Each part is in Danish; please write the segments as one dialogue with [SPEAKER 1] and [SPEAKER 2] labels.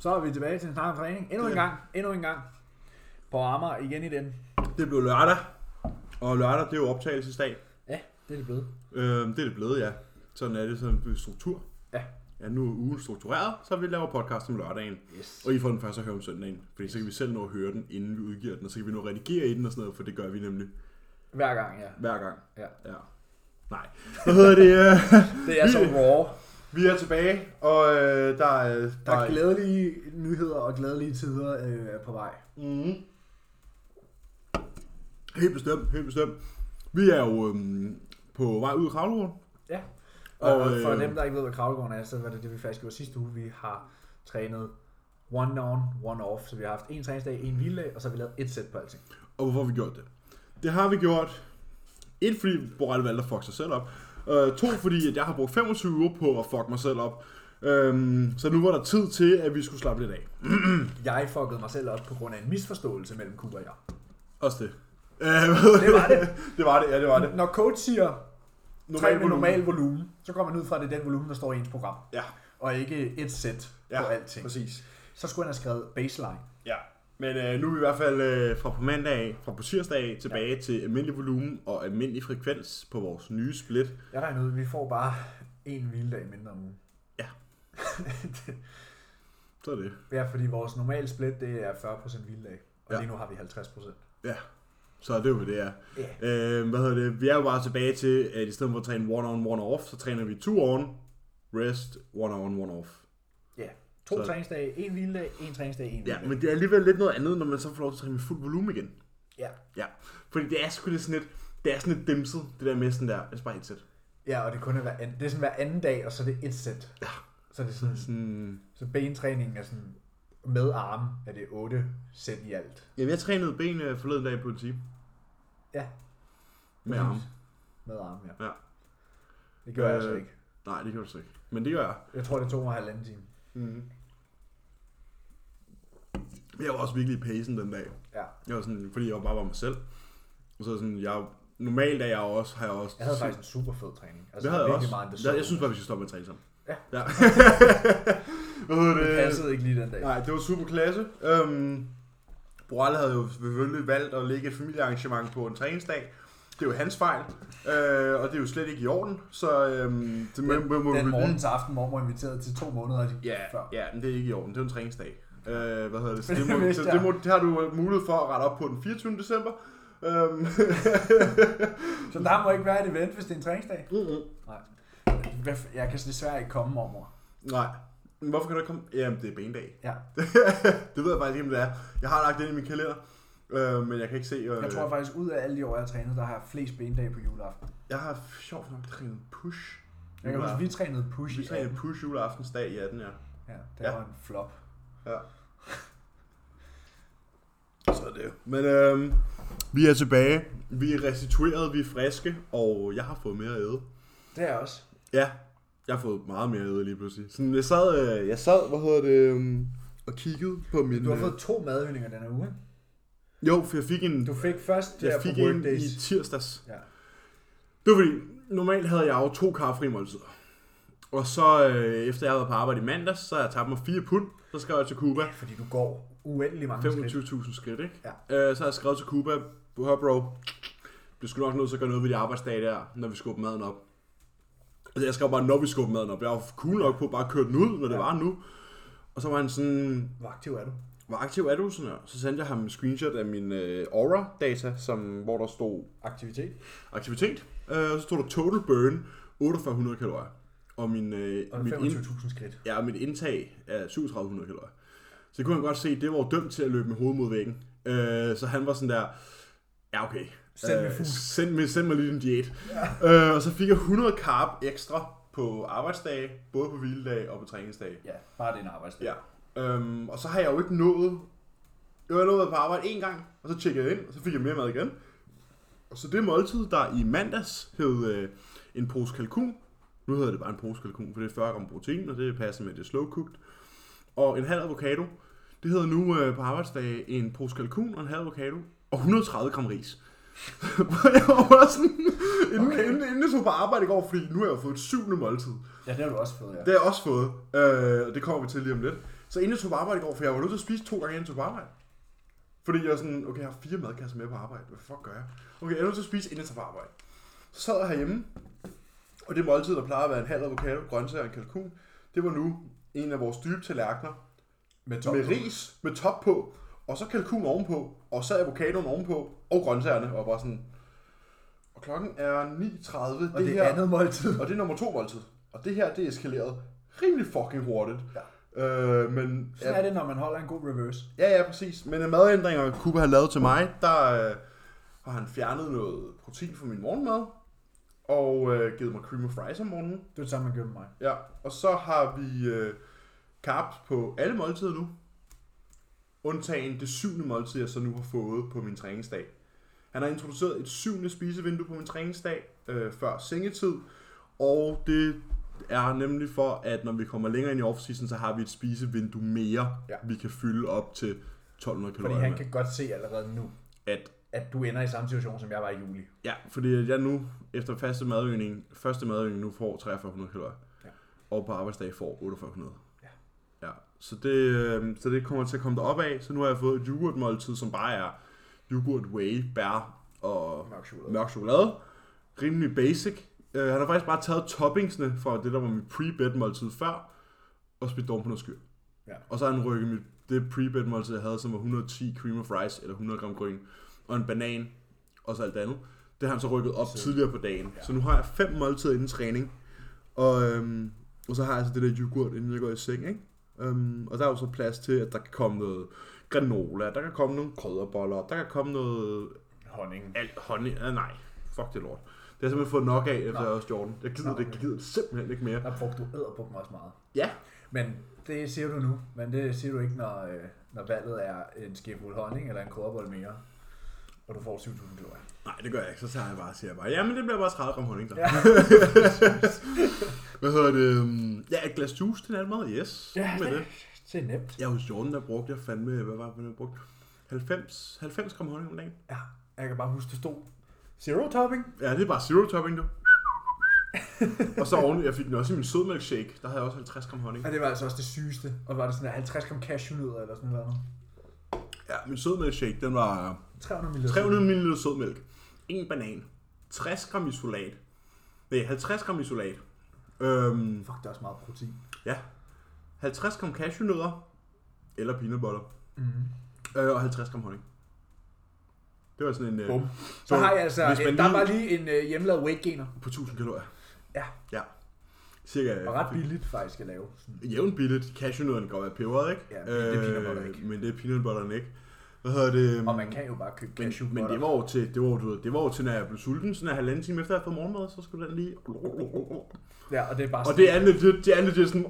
[SPEAKER 1] Så er vi tilbage til en snak om træning. Endnu en
[SPEAKER 2] Ja.
[SPEAKER 1] gang. Endnu en gang. På Amager igen i den.
[SPEAKER 2] Det blev lørdag, og lørdag det er jo optagelsesdag.
[SPEAKER 1] Ja, det er det blevet.
[SPEAKER 2] Øh, det er det blevet, ja. Sådan er det sådan en struktur.
[SPEAKER 1] Ja.
[SPEAKER 2] Ja, nu er ugen struktureret, så vi laver podcast om lørdagen.
[SPEAKER 1] Yes.
[SPEAKER 2] Og I får den først at høre om søndagen, fordi så kan vi selv nå at høre den, inden vi udgiver den, og så kan vi nå at redigere i den og sådan noget, for det gør vi nemlig
[SPEAKER 1] Hver gang, ja.
[SPEAKER 2] hver gang.
[SPEAKER 1] Ja.
[SPEAKER 2] ja. Nej. Hvad hedder det? øh,
[SPEAKER 1] Det er så raw.
[SPEAKER 2] vi er tilbage, og øh, der, er,
[SPEAKER 1] Der er glædelige nyheder og glædelige tider øh, er på vej.
[SPEAKER 2] Mm. Helt bestemt, helt bestemt. Vi er jo øhm, på vej ud af Kravlegården.
[SPEAKER 1] Ja. Og, og
[SPEAKER 2] Og,
[SPEAKER 1] for
[SPEAKER 2] øh,
[SPEAKER 1] dem, der ikke ved, hvad kravlegården er, så var det det, vi faktisk gjorde sidste uge. Vi har trænet one on, one off. Så vi har haft en træningsdag, en hviledag, og så har vi lavet et sæt på alting.
[SPEAKER 2] Og hvorfor har vi gjort det? Det har vi gjort, et fordi Borrell valgte at fuck sig selv op, øh, to fordi at jeg har brugt 25 uger på at fuck mig selv op, øhm, så nu var der tid til, at vi skulle slappe lidt af.
[SPEAKER 1] Jeg fuckede mig selv op på grund af en misforståelse mellem Kuba og jeg.
[SPEAKER 2] Også det. Øh, hvad-
[SPEAKER 1] Det var det.
[SPEAKER 2] det var det, ja det var det.
[SPEAKER 1] Når coach siger, normal volumen.
[SPEAKER 2] volumen.
[SPEAKER 1] normal volumen, så går man ud fra, at det er den volumen, der står i ens program.
[SPEAKER 2] Ja,
[SPEAKER 1] Og ikke et sæt ja.
[SPEAKER 2] Ja,
[SPEAKER 1] på alting.
[SPEAKER 2] præcis.
[SPEAKER 1] Så skulle han have skrevet baseline.
[SPEAKER 2] Ja, men øh, nu er vi i hvert fald øh, fra på mandag, af- fra på tirsdag af, tilbage ja. til almindelig volumen og almindelig frekvens på vores nye split.
[SPEAKER 1] Jeg regner ud, at vi får bare en hviledag mindre om ugen.
[SPEAKER 2] Ja. Så er det.
[SPEAKER 1] Ja, fordi vores normale split, det er 40% hviledag. Og ja.
[SPEAKER 2] Ja.
[SPEAKER 1] lige nu har vi 50%.
[SPEAKER 2] Ja, så er det jo, hvad det er.
[SPEAKER 1] Ja.
[SPEAKER 2] Øh, hvad hedder det? Vi er jo bare tilbage til, at i stedet for at træne one-on, one-off, så træner vi two-on, rest, one-on, one-off.
[SPEAKER 1] Ja. To
[SPEAKER 2] Så-
[SPEAKER 1] træningsdage, en hviledag, en træningsdag, en
[SPEAKER 2] Ja,
[SPEAKER 1] hviledag.
[SPEAKER 2] men det er alligevel lidt noget andet, når man så får lov til at træne med fuld volumen igen.
[SPEAKER 1] Ja.
[SPEAKER 2] Ja, fordi det er sgu lidt sådan lidt, det er sådan lidt dimset, det der med sådan der, det er bare et sæt.
[SPEAKER 1] ja, og det kun er, hver anden, det er sådan hver anden dag, og så er det et sæt. Ja. Så er det sådan,
[SPEAKER 2] Mm. Sådan,
[SPEAKER 1] så bentræningen er sådan, med arme er det otte sæt i alt.
[SPEAKER 2] jamen, jeg trænede ben øh, forleden dag på en time.
[SPEAKER 1] Ja.
[SPEAKER 2] Med
[SPEAKER 1] Præcis.
[SPEAKER 2] arme.
[SPEAKER 1] Med arme, ja.
[SPEAKER 2] Ja.
[SPEAKER 1] Det gør øh, jeg
[SPEAKER 2] Øh,
[SPEAKER 1] altså ikke.
[SPEAKER 2] Nej, det gør du så ikke. Men det gør jeg.
[SPEAKER 1] Jeg tror, det tog mig halvanden time. Mm-hmm.
[SPEAKER 2] Mm. Jeg var også virkelig i pacen den dag.
[SPEAKER 1] Ja.
[SPEAKER 2] Jeg var sådan, fordi jeg var bare var mig selv. Og så sådan, jeg, normalt er jeg også, har jeg også...
[SPEAKER 1] Jeg havde faktisk en super fed træning. Altså,
[SPEAKER 2] det havde jeg
[SPEAKER 1] virkelig
[SPEAKER 2] også.
[SPEAKER 1] Meget, det
[SPEAKER 2] jeg, jeg synes bare, vi skal stoppe med at træne sammen.
[SPEAKER 1] Ja.
[SPEAKER 2] ja. Hvad hedder
[SPEAKER 1] det
[SPEAKER 2] det?
[SPEAKER 1] passede ikke lige den dag.
[SPEAKER 2] Nej, det var super klasse. Øhm, Borrell havde jo selvfølgelig valgt at lægge et familiearrangement på en træningsdag. Det er jo hans fejl, øh, og det er jo slet ikke i orden, så øhm, det må, må, må, må vi
[SPEAKER 1] Den
[SPEAKER 2] lige-
[SPEAKER 1] morgen til aften, mormor inviteret til to måneder
[SPEAKER 2] Ja,
[SPEAKER 1] før.
[SPEAKER 2] ja, men det er ikke i orden. Det er jo en træningsdag. Øh, hvad hedder det? Så
[SPEAKER 1] Det
[SPEAKER 2] det, må,
[SPEAKER 1] vidste
[SPEAKER 2] så det,
[SPEAKER 1] jeg.
[SPEAKER 2] må, det har du øh, mulighed for at rette op på den 24. december. Øhm,
[SPEAKER 1] Så der må ikke være et event, hvis det er en træningsdag.
[SPEAKER 2] Mm-mm.
[SPEAKER 1] Nej. Hvad f- Jeg kan desværre ikke komme, mormor.
[SPEAKER 2] Nej. Men Hvorfor kan du ikke komme? Jamen, det er benedag.
[SPEAKER 1] Ja.
[SPEAKER 2] det ved jeg faktisk ikke, om det er. Jeg har lagt det ind i min kalender, øh, men jeg kan ikke se... Øh,
[SPEAKER 1] Jeg tror faktisk, ud af alle de år, jeg har trænet, der har jeg flest benedage på juleaften.
[SPEAKER 2] jeg har sjovt nok trænet push.
[SPEAKER 1] Jeg kan huske, vi trænede push
[SPEAKER 2] vi
[SPEAKER 1] i
[SPEAKER 2] trænede
[SPEAKER 1] 18.
[SPEAKER 2] push juleaftensdag i 18, ja.
[SPEAKER 1] Ja, det
[SPEAKER 2] Ja.
[SPEAKER 1] var en flop.
[SPEAKER 2] ja. Så er det. Men øh, vi er tilbage. Vi er restitueret, vi er friske, og jeg har fået mere at æde.
[SPEAKER 1] Det er jeg også.
[SPEAKER 2] Ja, jeg har fået meget mere æde lige pludselig. Sådan, jeg, sad, øh, jeg sad, hvad hedder det, øh, og kiggede på min...
[SPEAKER 1] Du har
[SPEAKER 2] øh,
[SPEAKER 1] fået to madhønninger denne uge. ikke?
[SPEAKER 2] Jo, for jeg fik en,
[SPEAKER 1] Du fik først der
[SPEAKER 2] jeg
[SPEAKER 1] på
[SPEAKER 2] fik en
[SPEAKER 1] workdays.
[SPEAKER 2] i tirsdags.
[SPEAKER 1] Ja.
[SPEAKER 2] Det var fordi, normalt havde jeg jo to kaffefri måltider. Og så øh, efter jeg havde været på arbejde i mandags, så havde jeg tabt mig fire pund. Så skrev jeg til Cuba.
[SPEAKER 1] ja, fordi du går uendelig mange skridt.
[SPEAKER 2] 25.000 skridt, ikke? Øh, så har jeg skrevet til Cuba, hør bro, vi skulle nok nødt til at gøre noget ved de arbejdsdage der, når vi skubber maden op. Altså jeg skrev bare, når vi skubber maden op. Jeg var cool nok på bare at køre den ud, når det
[SPEAKER 1] Ja.
[SPEAKER 2] var nu. Og så var han sådan,
[SPEAKER 1] Hvor aktiv er du?
[SPEAKER 2] hvor aktiv er du sådan her? Så sendte jeg ham en screenshot af min øh, Aura-data, som, hvor der stod
[SPEAKER 1] Aktivitet.
[SPEAKER 2] aktivitet. Øh, og så stod der total burn, 4800 kalorier. Og min, øh,
[SPEAKER 1] Og
[SPEAKER 2] mit, ind,
[SPEAKER 1] 25.000 skridt.
[SPEAKER 2] ja, mit indtag er 3700 kalorier. Så det kunne han godt se, det var jo dømt til at løbe med hovedet mod væggen. Øh, så han var sådan der, ja okay,
[SPEAKER 1] Send mig
[SPEAKER 2] øh,
[SPEAKER 1] fugl.
[SPEAKER 2] send, mig, send mig lige din diæt. Ja. Øh, og så fik jeg 100 carb ekstra på arbejdsdage, både på hviledag og på træningsdag.
[SPEAKER 1] Ja, bare det er en arbejdsdag.
[SPEAKER 2] Ja. Øhm, og så har jeg jo ikke nået... Jeg har nået på arbejde en gang, og så tjekkede jeg ind, og så fik jeg mere mad igen. Og så det måltid, der i mandags hed øh, en pose kalkun. Nu hedder det bare en pose kalkun, for det er 40 gram protein, og det passer med at det er slow cooked. Og en halv avocado. Det hedder nu øh, på arbejdsdag en pose kalkun og en halv avocado. Og 130 gram ris. jeg var bare sådan, inden, okay. inden, inden jeg tog på arbejde i går, fordi nu har jeg jo fået et syvende måltid.
[SPEAKER 1] Ja, det har du også fået, ja.
[SPEAKER 2] Det har jeg også fået, øh, og det kommer vi til lige om lidt. Så inden jeg tog på arbejde i går, for jeg var nødt til at spise to gange inden jeg tog på arbejde. Fordi jeg var sådan, okay, jeg har fire madkasser med på arbejde. Hvad fuck gør jeg? Okay, jeg er nødt til at spise, inden jeg tager på arbejde. Så sad jeg herhjemme, og det måltid, der plejer at være en halv avocado, grøntsager og en kalkun, det var nu en af vores dybe tallerkener
[SPEAKER 1] Med
[SPEAKER 2] top med på. ris med top på, og så kalkun ovenpå, og så avocadoen ovenpå, og grøntsagerne, og bare sådan... Og klokken er 9.30,
[SPEAKER 1] Og det, det
[SPEAKER 2] her,
[SPEAKER 1] er andet måltid.
[SPEAKER 2] og det er nummer to måltid. Og det her, det er eskaleret rimelig fucking hurtigt. Ja. Øh, men
[SPEAKER 1] Sådan er det, når man holder en god reverse.
[SPEAKER 2] Ja, ja, præcis. Men af madændringer, Kuba har lavet til mig, der øh, har han fjernet noget protein fra min morgenmad, og øh, givet mig cream of fries om morgenen.
[SPEAKER 1] Det er det samme, man gjorde med mig.
[SPEAKER 2] Ja, og så har vi øh, carbs på alle måltider nu. Undtagen det syvende måltid, jeg så nu har fået på min træningsdag. Han har introduceret et syvende spisevindue på min træningsdag øh, før sengetid. Og det er nemlig for, at når vi kommer længere ind i off så har vi et spisevindue mere,
[SPEAKER 1] Ja.
[SPEAKER 2] vi kan fylde op til 1200
[SPEAKER 1] Fordi
[SPEAKER 2] kalorier.
[SPEAKER 1] han
[SPEAKER 2] med.
[SPEAKER 1] kan godt se allerede nu,
[SPEAKER 2] At,
[SPEAKER 1] at du ender i samme situation, som jeg var i juli.
[SPEAKER 2] ja, fordi at jeg nu, efter faste madøgning, første madøgning nu får 4300 kalorier.
[SPEAKER 1] Ja.
[SPEAKER 2] Og på arbejdsdag får 4800.
[SPEAKER 1] Ja.
[SPEAKER 2] Ja, så det, øh, så det kommer til at komme derop af. Så nu har jeg fået et yoghurtmåltid, som bare er yoghurt, whey, bær og
[SPEAKER 1] Mørk chokolade.
[SPEAKER 2] mørk chokolade. Rimelig basic. Uh, han har faktisk bare taget toppingsene fra det, der var mit pre-bed måltid før, og spidt dem på noget skyr.
[SPEAKER 1] Ja.
[SPEAKER 2] Og så har han rykket mit, det pre-bed måltid, jeg havde, som var 110 cream of rice, eller 100 gram grøn, og en banan, og så alt det andet. Det har han så rykket op
[SPEAKER 1] Så-
[SPEAKER 2] tidligere på dagen.
[SPEAKER 1] ja.
[SPEAKER 2] Så nu har jeg fem måltider inden træning. Og, øhm, og så har jeg så det der yoghurt, inden jeg går i seng, ikke? Øhm, og der er jo så plads til, at der kan komme noget granola, der kan komme nogle krydderboller, der kan komme noget
[SPEAKER 1] Honning.
[SPEAKER 2] alt honning. Ah, nej, fuck det lort. Det har jeg simpelthen fået nok af, efter
[SPEAKER 1] Nå.
[SPEAKER 2] jeg også Jordan. Jeg gider,
[SPEAKER 1] Nå,
[SPEAKER 2] det, jeg
[SPEAKER 1] okay.
[SPEAKER 2] gider det simpelthen ikke mere.
[SPEAKER 1] Der brugte du æderbrugte mig også meget.
[SPEAKER 2] Ja,
[SPEAKER 1] Men det siger du nu, men det siger du ikke, når, øh, når valget er en skefuld honning eller en krydderbold mere, og du får 7.000 kalorier.
[SPEAKER 2] nej, det gør jeg ikke. Så tager jeg bare og siger bare, ja, men det bliver bare 30 gram honning, der.
[SPEAKER 1] Ja.
[SPEAKER 2] Hvad hedder det? øhm, Ja, et glas juice til en anden mad, yes. med det.
[SPEAKER 1] det er nemt.
[SPEAKER 2] Jeg hos Jordan, der brugte jeg fandme, hvad var det, jeg brugte? 90, 90 gram honning om dagen.
[SPEAKER 1] Ja, jeg kan bare huske, det stod zero topping.
[SPEAKER 2] Ja, det er bare zero topping, du. og så oven, jeg fik den også i min sødmælkshake. Der havde jeg også 50 gram honning.
[SPEAKER 1] Og det var altså også det sygeste. Og var det sådan der 50 gram cashewnødder eller sådan noget.
[SPEAKER 2] Ja, min sødmælkshake, den var
[SPEAKER 1] 300 ml.
[SPEAKER 2] 300 ml sødmælk, en banan, 60 gram isolat, nej, 50 gram isolat, øhm,
[SPEAKER 1] Fuck, det er også meget protein.
[SPEAKER 2] ja, 50 gram cashewnødder, eller peanut butter,
[SPEAKER 1] Mm.
[SPEAKER 2] øh, og 50 gram honning. Det var sådan en... Øh,
[SPEAKER 1] Bum. Så,
[SPEAKER 2] så
[SPEAKER 1] har jeg altså,
[SPEAKER 2] hvis man
[SPEAKER 1] øh, der
[SPEAKER 2] lige-
[SPEAKER 1] var lige en øh, hjemmelavet weight gainer.
[SPEAKER 2] På 1000 kalorier.
[SPEAKER 1] Ja.
[SPEAKER 2] Ja. Cirka...
[SPEAKER 1] Og ret billigt faktisk at lave. Sådan.
[SPEAKER 2] Jævnt billigt. Cashewnødderne kan godt være peberet, ikke? Øh,
[SPEAKER 1] Ja, men det er peanut butter ikke.
[SPEAKER 2] Men det er peanut butteren ikke. Hvad hedder det?
[SPEAKER 1] Og man kan jo bare købe
[SPEAKER 2] Mm. Men,
[SPEAKER 1] cashew
[SPEAKER 2] men det var jo til, det var, jo, du ved, det var jo til, når jeg blev sulten, sådan en halvanden time efter, jeg havde fået morgenmad, så skulle den lige...
[SPEAKER 1] Ja, og det er bare
[SPEAKER 2] Og
[SPEAKER 1] sådan-
[SPEAKER 2] det er legit, det er legit sådan...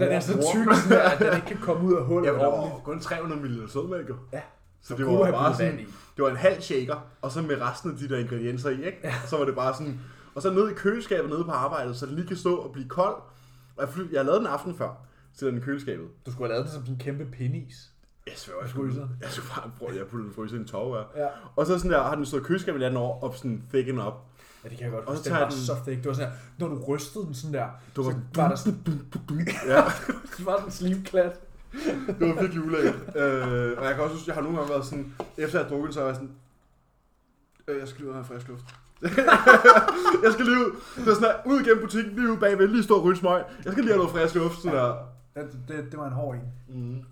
[SPEAKER 1] Den er så tyk, sådan der, at den ikke kan komme ud af hullet
[SPEAKER 2] Ja, men der
[SPEAKER 1] ordentligt.
[SPEAKER 2] var kun 300 ml sødmælk. jo.
[SPEAKER 1] Ja.
[SPEAKER 2] Så
[SPEAKER 1] kunne
[SPEAKER 2] det
[SPEAKER 1] du
[SPEAKER 2] var
[SPEAKER 1] have
[SPEAKER 2] bare
[SPEAKER 1] puttet
[SPEAKER 2] sådan,
[SPEAKER 1] vand i.
[SPEAKER 2] det var en halv shaker, og så med resten af de der ingredienser i, ikke? Så var det bare sådan, og så ned i køleskabet nede på arbejdet, så den lige kan stå og blive kold. Og jeg, fly, jeg lavede den aften før, til den i køleskabet.
[SPEAKER 1] Du skulle have lavet det som sådan en kæmpe pindis.
[SPEAKER 2] Jeg sværger, jeg skulle,
[SPEAKER 1] Fryser.
[SPEAKER 2] jeg skulle bare prøve, jeg puttede den fryser i en tog, ja.
[SPEAKER 1] Ja.
[SPEAKER 2] Og så sådan der, har den stået i køleskabet i den år, op sådan thicken op.
[SPEAKER 1] ja, det kan jeg godt
[SPEAKER 2] Og så
[SPEAKER 1] huske. Den
[SPEAKER 2] tager
[SPEAKER 1] var
[SPEAKER 2] den-
[SPEAKER 1] så fæk. Det var sådan her, når du rystede den sådan der,
[SPEAKER 2] Du var
[SPEAKER 1] så
[SPEAKER 2] sådan-
[SPEAKER 1] var der sådan,
[SPEAKER 2] Ja.
[SPEAKER 1] så var der en slimklat.
[SPEAKER 2] Det var virkelig ulækkert. Øh, og jeg kan også huske, jeg har nogle gange været sådan, efter jeg har drukket, så har jeg sådan, øh, jeg skal lige ud og have frisk luft. jeg skal lige ud. Så sådan der, ud igennem butikken, lige ud bagved, lige stå og ryge en smøg. Jeg skal lige have noget frisk luft, sådan der.
[SPEAKER 1] Ja, det, det, det, var en hård en.
[SPEAKER 2] Mm.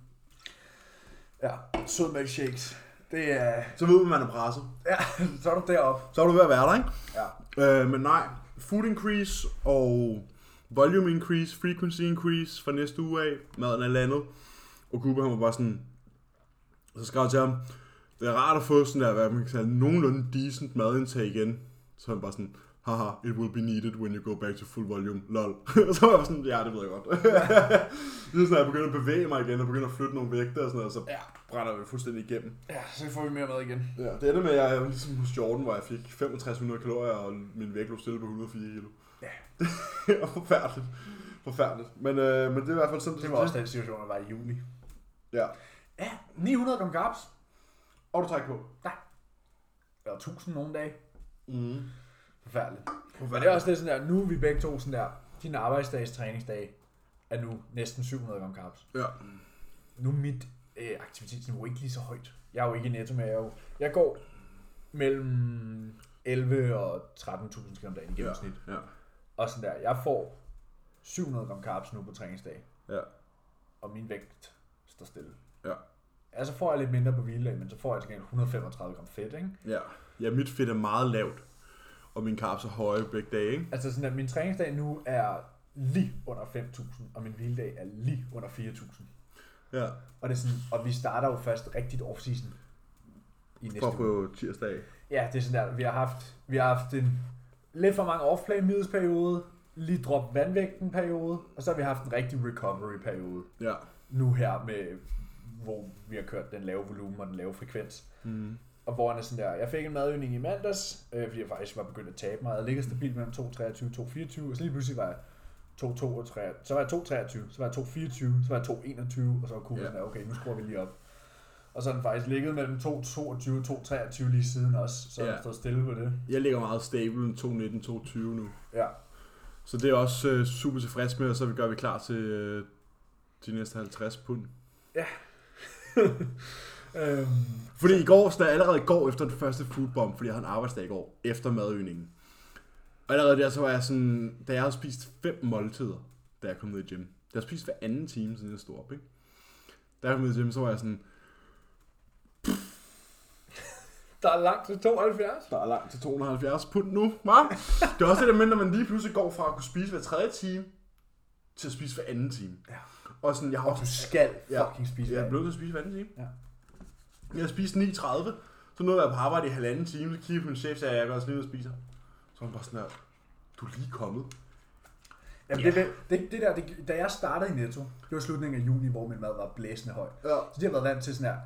[SPEAKER 1] Ja, sød milkshakes. Det er...
[SPEAKER 2] Så ved man, man er presset.
[SPEAKER 1] Ja, så er du deroppe.
[SPEAKER 2] Så er du ved at være der, ikke?
[SPEAKER 1] Ja.
[SPEAKER 2] Øh, men nej, food increase og volume increase, frequency increase fra næste uge af, maden er landet. Og Cooper han var bare sådan, og så skrev jeg til ham, det er rart at få sådan der, hvad man kan sige, nogenlunde decent madindtag igen. Så han bare sådan, haha, it will be needed when you go back to full volume, lol. og så var jeg sådan, ja, det ved jeg godt. Lige sådan, at jeg begynder at bevæge mig igen, og begynder at flytte nogle vægte og sådan noget, så
[SPEAKER 1] Ja.
[SPEAKER 2] brænder vi fuldstændig igennem.
[SPEAKER 1] ja, så får vi mere mad igen.
[SPEAKER 2] Ja, det ender med, at jeg var ligesom hos Jordan, hvor jeg fik 6500 kalorier, og min vægt lå stille på 104 kilo.
[SPEAKER 1] Ja.
[SPEAKER 2] det var forfærdeligt. Forfærdeligt. Men, øh, men det er i hvert fald sådan,
[SPEAKER 1] Det var også den situation, der var i juli.
[SPEAKER 2] Ja.
[SPEAKER 1] Ja, 900 gram carbs.
[SPEAKER 2] Og du trækker på.
[SPEAKER 1] Eller 1000 nogle dage. Mm-hmm.
[SPEAKER 2] Mm.
[SPEAKER 1] Forfærdeligt. Men det er også lidt sådan der, nu er vi begge to sådan der, din arbejdsdags træningsdag, er nu næsten 700 gram carbs.
[SPEAKER 2] Ja.
[SPEAKER 1] Nu er mit øh, aktivitetsniveau ikke lige så højt. Jeg er jo ikke i netto, men jeg, er jo, jeg går mellem 11 og 13.000 skridt om dagen i gennemsnit. Ja.
[SPEAKER 2] Ja.
[SPEAKER 1] Og sådan der. Jeg får 700 gram carbs nu på træningsdag,
[SPEAKER 2] Ja.
[SPEAKER 1] og min vægt står stille.
[SPEAKER 2] Ja.
[SPEAKER 1] Ja, så får jeg lidt mindre på hviledag, men så får jeg til gengæld 135 gram fedt, ikke?
[SPEAKER 2] Ja. Ja, mit fedt er meget lavt. Og min carbs er høje begge dage, ikke?
[SPEAKER 1] Altså sådan, at min træningsdag nu er lige under 5.000, og min hviledag er lige under 4.000.
[SPEAKER 2] Ja.
[SPEAKER 1] Og, det er sådan, og vi starter jo først rigtigt off-season i
[SPEAKER 2] For
[SPEAKER 1] næste
[SPEAKER 2] at
[SPEAKER 1] uge.
[SPEAKER 2] få tirsdag.
[SPEAKER 1] Ja, det er sådan der, vi har haft, vi har haft en lidt for mange off-play middagsperiode, lige drop vandvægten periode, og så har vi haft en rigtig recovery periode
[SPEAKER 2] Ja.
[SPEAKER 1] nu her med, hvor vi har kørt den lave volumen og den lave frekvens.
[SPEAKER 2] Mm.
[SPEAKER 1] Og hvor han er sådan der, jeg fik en madøgning i mandags, øh, fordi jeg faktisk var begyndt at tabe mig. Jeg ligger stabilt mellem 2,23 og 2,24, og så lige pludselig var jeg 2,22, så var jeg 2,23, så var jeg 2,24, så var jeg 2,21, og så var kurven
[SPEAKER 2] Ja.
[SPEAKER 1] sådan der, okay, nu skruer vi lige op. Og så har den faktisk ligget mellem 2,22 og 2,23 lige siden også, så har
[SPEAKER 2] Ja.
[SPEAKER 1] den stået stille på det.
[SPEAKER 2] Jeg ligger meget stable 2.19, 2.20 nu.
[SPEAKER 1] Ja,
[SPEAKER 2] Så det er jeg også øh, super tilfreds med, og så gør vi klar til øh, de næste 50 pund.
[SPEAKER 1] øhm,
[SPEAKER 2] Fordi i går, så allerede i går efter den første foodbomb, fordi jeg havde en arbejdsdag i går, efter madøgningen. Og allerede der, så var jeg sådan, da jeg havde spist fem måltider, da jeg kom ned i gym. Jeg har spist hver anden time, siden jeg stod op, ikke? Da jeg kom ned i gym, så var jeg sådan,
[SPEAKER 1] der er langt til 72.
[SPEAKER 2] der er langt til 270 pund nu, hva? Det er også det der med, når man lige pludselig går fra at kunne spise hver tredje time, til at spise hver anden time.
[SPEAKER 1] Ja.
[SPEAKER 2] Og sådan, jeg har
[SPEAKER 1] Du
[SPEAKER 2] også
[SPEAKER 1] skal
[SPEAKER 2] Ja.
[SPEAKER 1] fucking spise
[SPEAKER 2] Jeg
[SPEAKER 1] ja,
[SPEAKER 2] er blevet til at spise hver anden time.
[SPEAKER 1] Ja.
[SPEAKER 2] Jeg spiste 9.30, så nåede jeg på arbejde i halvanden time, så kiggede jeg på min chef, sagde, jeg, jeg går også lige ud og spiser. Så var han bare sådan her, du er lige kommet.
[SPEAKER 1] Jamen, det, det, det, det der, det, da jeg startede i Netto, det var slutningen af juni, hvor min mad var blæsende høj.
[SPEAKER 2] Ja,
[SPEAKER 1] Så de har været vant til sådan her.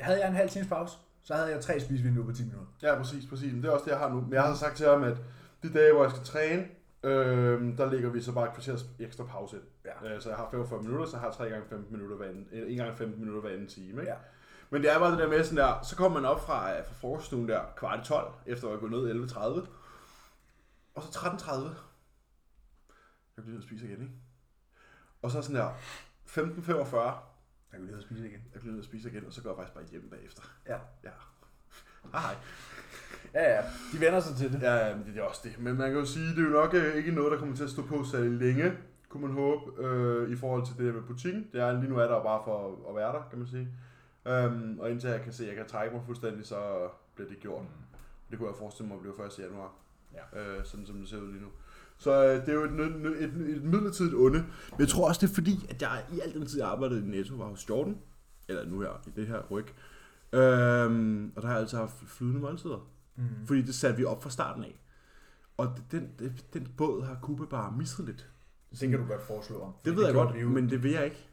[SPEAKER 1] Havde jeg en halv times pause, så havde jeg tre spisevinduer på 10 minutter.
[SPEAKER 2] ja præcis, præcis. Men det er også det, jeg har nu. Men jeg har så sagt til ham, at de dage, hvor jeg skal træne, øh, der ligger vi så bare et kvarters ekstra pause. ind.
[SPEAKER 1] Ja.
[SPEAKER 2] Øh, så jeg har 45 minutter, så jeg har 3 gange 15 minutter hver anden, 1 gange 15 minutter hver anden time. Ikke?
[SPEAKER 1] Ja.
[SPEAKER 2] Men det er bare det der med sådan der, så kommer man op fra, øh, fra frokoststuen der kvart i 12, efter at jeg gået ned 11.30. Og så 13.30. Jeg bliver nødt til at spise igen, ikke? Og så sådan der 15.45.
[SPEAKER 1] Jeg kunne lige spise igen.
[SPEAKER 2] Jeg bliver nødt til at spise igen, og så går jeg faktisk bare hjem bagefter.
[SPEAKER 1] Ja.
[SPEAKER 2] Ja. Ah, hej.
[SPEAKER 1] Ja, ja. De vender sig til det.
[SPEAKER 2] Ja, men det er også det. Men man kan jo sige, det er jo nok øh, ikke noget, der kommer til at stå på særlig længe, kunne man håbe, øh, i forhold til det der med butikken. Det er, lige nu er der jo bare for at være der, kan man sige. Øhm, og indtil jeg kan se, at jeg kan trække mig fuldstændig, så bliver det gjort. Det kunne jeg forestille mig bliver 1. januar. Ja. Øh, sådan som det ser ud lige nu. Så øh, det er jo et, nød- nød- et, et midlertidigt onde. Men jeg tror også, det er fordi, at jeg i al den tid, jeg arbejdede i Netto, var hos Jordan. Eller nu her, i det her ryg. Øhm, og der har jeg altid haft flydende måltider.
[SPEAKER 1] Mm.
[SPEAKER 2] Fordi det satte vi op fra starten af. Og det- den, den, den båd har Kuba bare misset lidt.
[SPEAKER 1] Det kan du godt foreslå om.
[SPEAKER 2] Det ved jeg
[SPEAKER 1] gjorde
[SPEAKER 2] godt,
[SPEAKER 1] vi jo.
[SPEAKER 2] men det vil jeg ikke.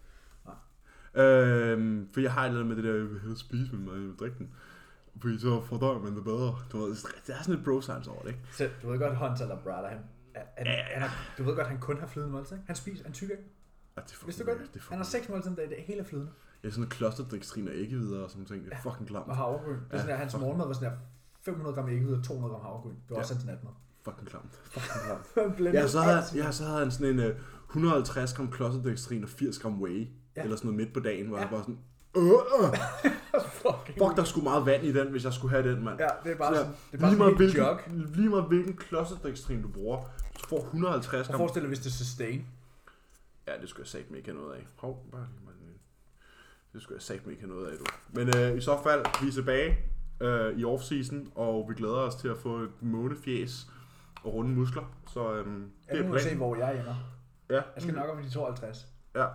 [SPEAKER 1] Nej.
[SPEAKER 2] Øhm, for jeg har et eller andet med det der, jeg vil hellere spise med mig end drikke den. Fordi så fordøjer man det bedre. Du ved, der er sådan lidt bro science over det, ikke?
[SPEAKER 1] Så, du ved godt, Hunter Labrada, han, han, han,
[SPEAKER 2] Ja, ja.
[SPEAKER 1] han har, du ved godt, han kun har flydende måltid. ikke? Han spiser, han tykker ikke.
[SPEAKER 2] Og det er
[SPEAKER 1] Vidste du godt?
[SPEAKER 2] fucking- det? er
[SPEAKER 1] Han har
[SPEAKER 2] fucking-
[SPEAKER 1] seks måltider om dagen, det er hele flydende.
[SPEAKER 2] Jeg er sådan en klosterdrikstrin og ikke videre og sådan ting. Det er fucking klamt.
[SPEAKER 1] Og havregryn. Det er sådan,
[SPEAKER 2] Ja.
[SPEAKER 1] at hans morgenmad var sådan her 500 gram æggehvide og 200 gram havregryn. Det var
[SPEAKER 2] Ja.
[SPEAKER 1] også hans natmad.
[SPEAKER 2] Fucking klamt. Fucking klamt.
[SPEAKER 1] Han blandede
[SPEAKER 2] Ja, så havde,
[SPEAKER 1] alt.
[SPEAKER 2] jeg så havde han sådan en øh, 150 gram klosterdrikstrin og 80 gram whey.
[SPEAKER 1] Ja.
[SPEAKER 2] Eller sådan noget midt på dagen, hvor
[SPEAKER 1] Ja.
[SPEAKER 2] jeg bare sådan... Øh, øh.
[SPEAKER 1] Fucking.
[SPEAKER 2] Fuck, der skulle meget vand i den, hvis jeg skulle have den, mand.
[SPEAKER 1] Ja, det er bare
[SPEAKER 2] Så
[SPEAKER 1] sådan, det er bare sådan
[SPEAKER 2] lige,
[SPEAKER 1] en
[SPEAKER 2] meget
[SPEAKER 1] hel jog.
[SPEAKER 2] hvilken, lige meget hvilken klodserdrikstrin du bruger, du får 150
[SPEAKER 1] Og
[SPEAKER 2] gram.
[SPEAKER 1] forestil dig, hvis det er sustain.
[SPEAKER 2] Ja, det skulle jeg satme ikke have noget af. Hov, bare lige mig lige. Det skulle jeg satme ikke have noget af, du. Men øh, i så fald, vi er tilbage øh, i off-season, og vi glæder os til at få et månefjes og runde muskler. Så øh,
[SPEAKER 1] Ja,
[SPEAKER 2] det
[SPEAKER 1] nu
[SPEAKER 2] er
[SPEAKER 1] må vi se,
[SPEAKER 2] planen.
[SPEAKER 1] hvor jeg ender.
[SPEAKER 2] Ja.
[SPEAKER 1] Jeg skal nok op i de 52.
[SPEAKER 2] ja.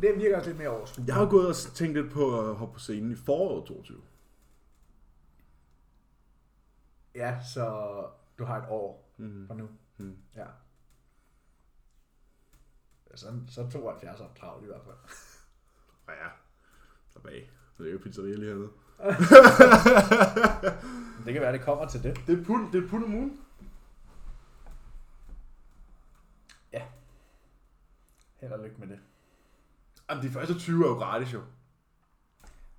[SPEAKER 1] Det virker også lidt mere overskueligt.
[SPEAKER 2] Jeg har jo gået og tænkt lidt på at hoppe på scenen i foråret 22.
[SPEAKER 1] Ja, så du har et år
[SPEAKER 2] Mm.
[SPEAKER 1] fra nu.
[SPEAKER 2] Mm.
[SPEAKER 1] Ja. Så, så 72 er travlt i hvert fald.
[SPEAKER 2] Og ja, der bag. Det er jo pizzeria lige hernede.
[SPEAKER 1] Men Det kan være, det kommer til det.
[SPEAKER 2] Det er pund, det er pund om ugen.
[SPEAKER 1] Held og lykke med det.
[SPEAKER 2] Jamen, de første 20 er jo gratis, jo.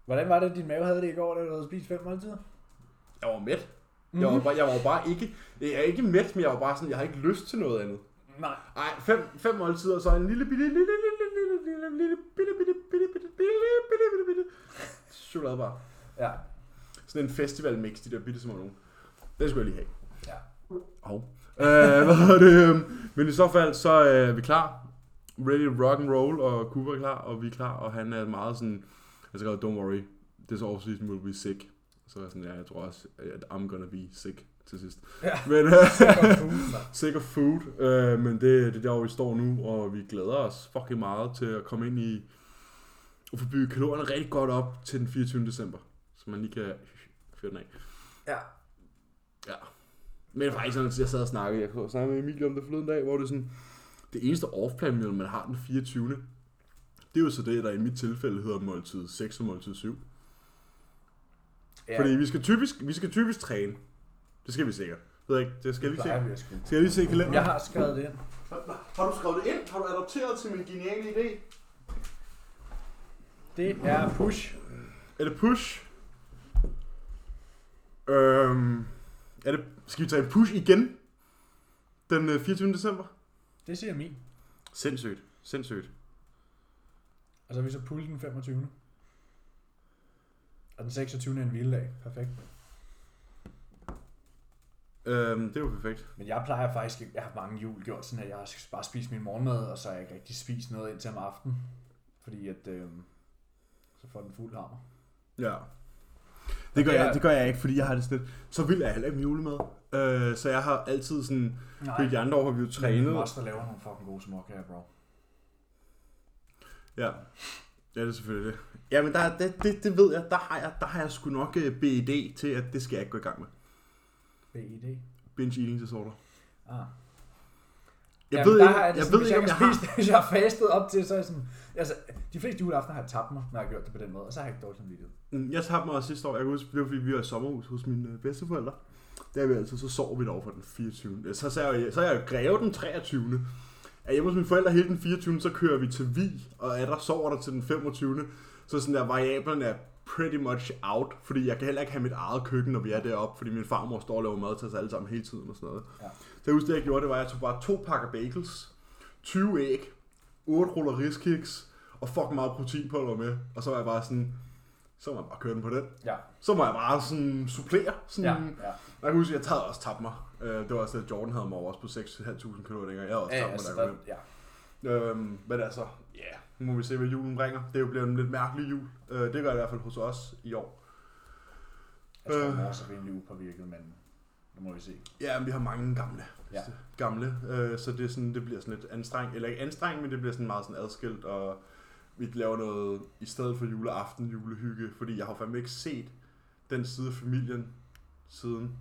[SPEAKER 1] Hvordan var det, din mave havde det i går, da du havde spist fem måltider?
[SPEAKER 2] Jeg var mæt. Mm-hmm. Jeg, var bare, jeg var bare ikke, jeg er ikke mæt, men jeg var bare sådan, jeg har ikke lyst til noget andet.
[SPEAKER 1] Nej.
[SPEAKER 2] Ej, fem, fem måltider, og så en lille bitte, lille, lille, lille, lille, lille, bitte, bitte, bitte, bitte, bitte, bitte, bitte, bitte, chokoladebar.
[SPEAKER 1] Ja.
[SPEAKER 2] Sådan en festivalmix, de der bitte små nogen. Den skulle jeg lige have.
[SPEAKER 1] Ja.
[SPEAKER 2] Hov. Øh, hvad hedder det? Men i så fald, så er vi klar. Ready rock and roll, og Cooper er klar, og vi er klar, og han er meget sådan, jeg skrev, don't worry, this offseason will be sick. Så er jeg sådan, ja, jeg tror også, at I'm gonna be sick til sidst.
[SPEAKER 1] Ja.
[SPEAKER 2] Men, øh,
[SPEAKER 1] Sikker food, mand.
[SPEAKER 2] Sikker food, øh, men det, det er der, hvor vi står nu, og vi glæder os fucking meget til at komme ind i og få bygget kalorierne rigtig godt op til den 24. december, så man lige kan fyre den af.
[SPEAKER 1] Ja.
[SPEAKER 2] Ja. Men det er faktisk sådan, at jeg sad og snakkede, jeg kunne snakke med Emilie om det forleden dag, hvor det er sådan, det eneste off-plan, meal, man har den 24. Det er jo så det, der i mit tilfælde hedder måltid 6 og måltid 7.
[SPEAKER 1] ja.
[SPEAKER 2] Ja. Fordi vi skal, typisk, vi skal typisk træne. Det skal vi sikkert. Ved jeg ikke, det skal jeg lige
[SPEAKER 1] plejer
[SPEAKER 2] se.
[SPEAKER 1] vi at skulle.
[SPEAKER 2] Skal jeg lige se kalenderen?
[SPEAKER 1] Jeg har skrevet det ind.
[SPEAKER 2] Har du skrevet det ind? Har du adopteret til min geniale idé?
[SPEAKER 1] Det er push.
[SPEAKER 2] Er det push? Øhm, er det, skal vi tage en push igen? Den øh, 24. december?
[SPEAKER 1] Det siger min.
[SPEAKER 2] Sindssygt. Sindssygt.
[SPEAKER 1] Og så har vi så pullet den 25. Og den 26. er en hviledag. Perfekt.
[SPEAKER 2] Øhm, det er jo perfekt.
[SPEAKER 1] Men jeg plejer faktisk ikke, jeg har mange jul gjort sådan, at jeg har bare spist min morgenmad, og så har jeg ikke rigtig spist noget indtil om aftenen. Fordi at, øh, så får den fuld hammer.
[SPEAKER 2] Ja. Det gør,
[SPEAKER 1] det er-
[SPEAKER 2] jeg, det gør jeg ikke, fordi jeg har det sådan lidt, så vild er jeg heller ikke med julemad. Øh, så jeg har altid sådan, Mm, fordi de andre år har vi jo
[SPEAKER 1] Min
[SPEAKER 2] trænet.
[SPEAKER 1] master laver nogle fucking gode småkager, bro.
[SPEAKER 2] Ja. Ja, det er selvfølgelig det. Ja, men der, er- det, det, det ved jeg, der har jeg, der har jeg sgu nok øh, BED til, at det skal jeg ikke gå i gang med.
[SPEAKER 1] BID.
[SPEAKER 2] Binge eating disorder.
[SPEAKER 1] Ah.
[SPEAKER 2] Jeg
[SPEAKER 1] Jamen,
[SPEAKER 2] ved
[SPEAKER 1] der
[SPEAKER 2] ikke,
[SPEAKER 1] har det
[SPEAKER 2] jeg
[SPEAKER 1] sådan,
[SPEAKER 2] ved
[SPEAKER 1] hvis
[SPEAKER 2] ikke, om jeg
[SPEAKER 1] ikke
[SPEAKER 2] har...
[SPEAKER 1] spist, Hvis jeg har fastet op til, så er jeg sådan... Altså, de fleste juleaftener har jeg tabt mig, når jeg har gjort det på den måde, og så har jeg ikke dårlig samvittighed.
[SPEAKER 2] Mm, Jeg tabte mig også sidste år. Jeg kan huske, det var fordi, vi var i sommerhus hos mine øh, bedsteforældre. Der er vi altid, så sover vi derovre for den 24. Øh, Så, så, er jeg, så er jeg jo greve den 23. Er hjemme hos mine forældre hele den 24. Så kører vi til Vi, og er der sover der til den 25. Så sådan der, variablerne er pretty much out, fordi jeg kan heller ikke have mit eget køkken, når vi er deroppe, fordi min farmor står og laver mad til os alle sammen hele tiden og sådan noget.
[SPEAKER 1] Ja.
[SPEAKER 2] Så jeg husker, det jeg gjorde, det var, at jeg tog bare to pakker bagels, 20 æg, 8 ruller riskiks, og fuck meget proteinpulver med, og så var jeg bare sådan, så må jeg bare køre den på den.
[SPEAKER 1] Ja,
[SPEAKER 2] Så må jeg bare sådan supplere.
[SPEAKER 1] ja,
[SPEAKER 2] Sådan,
[SPEAKER 1] ja.
[SPEAKER 2] Jeg kan huske, at jeg havde også tabt mig. Øh, Det var også det, Jordan havde mig over også på 6.500 km dengang. Jeg havde også
[SPEAKER 1] Ja,
[SPEAKER 2] tabt mig,
[SPEAKER 1] altså, der,
[SPEAKER 2] da jeg kom
[SPEAKER 1] ja.
[SPEAKER 2] hjem. Øhm, men altså, ja, yeah. nu må vi se, hvad julen bringer. Det er jo bliver en lidt mærkelig jul. Øh, Det gør det i hvert fald hos os i år.
[SPEAKER 1] Jeg tror,
[SPEAKER 2] Øh.
[SPEAKER 1] øh. mors er rimelig upåvirket, men nu må vi se.
[SPEAKER 2] Ja, men vi har mange gamle.
[SPEAKER 1] Ja.
[SPEAKER 2] gamle øh, så det, er sådan, det bliver sådan lidt anstrengt. Eller ikke anstrengt, men det bliver sådan meget sådan adskilt. Og vi laver noget i stedet for juleaften, julehygge. Fordi jeg har jo fandme ikke set den side af familien siden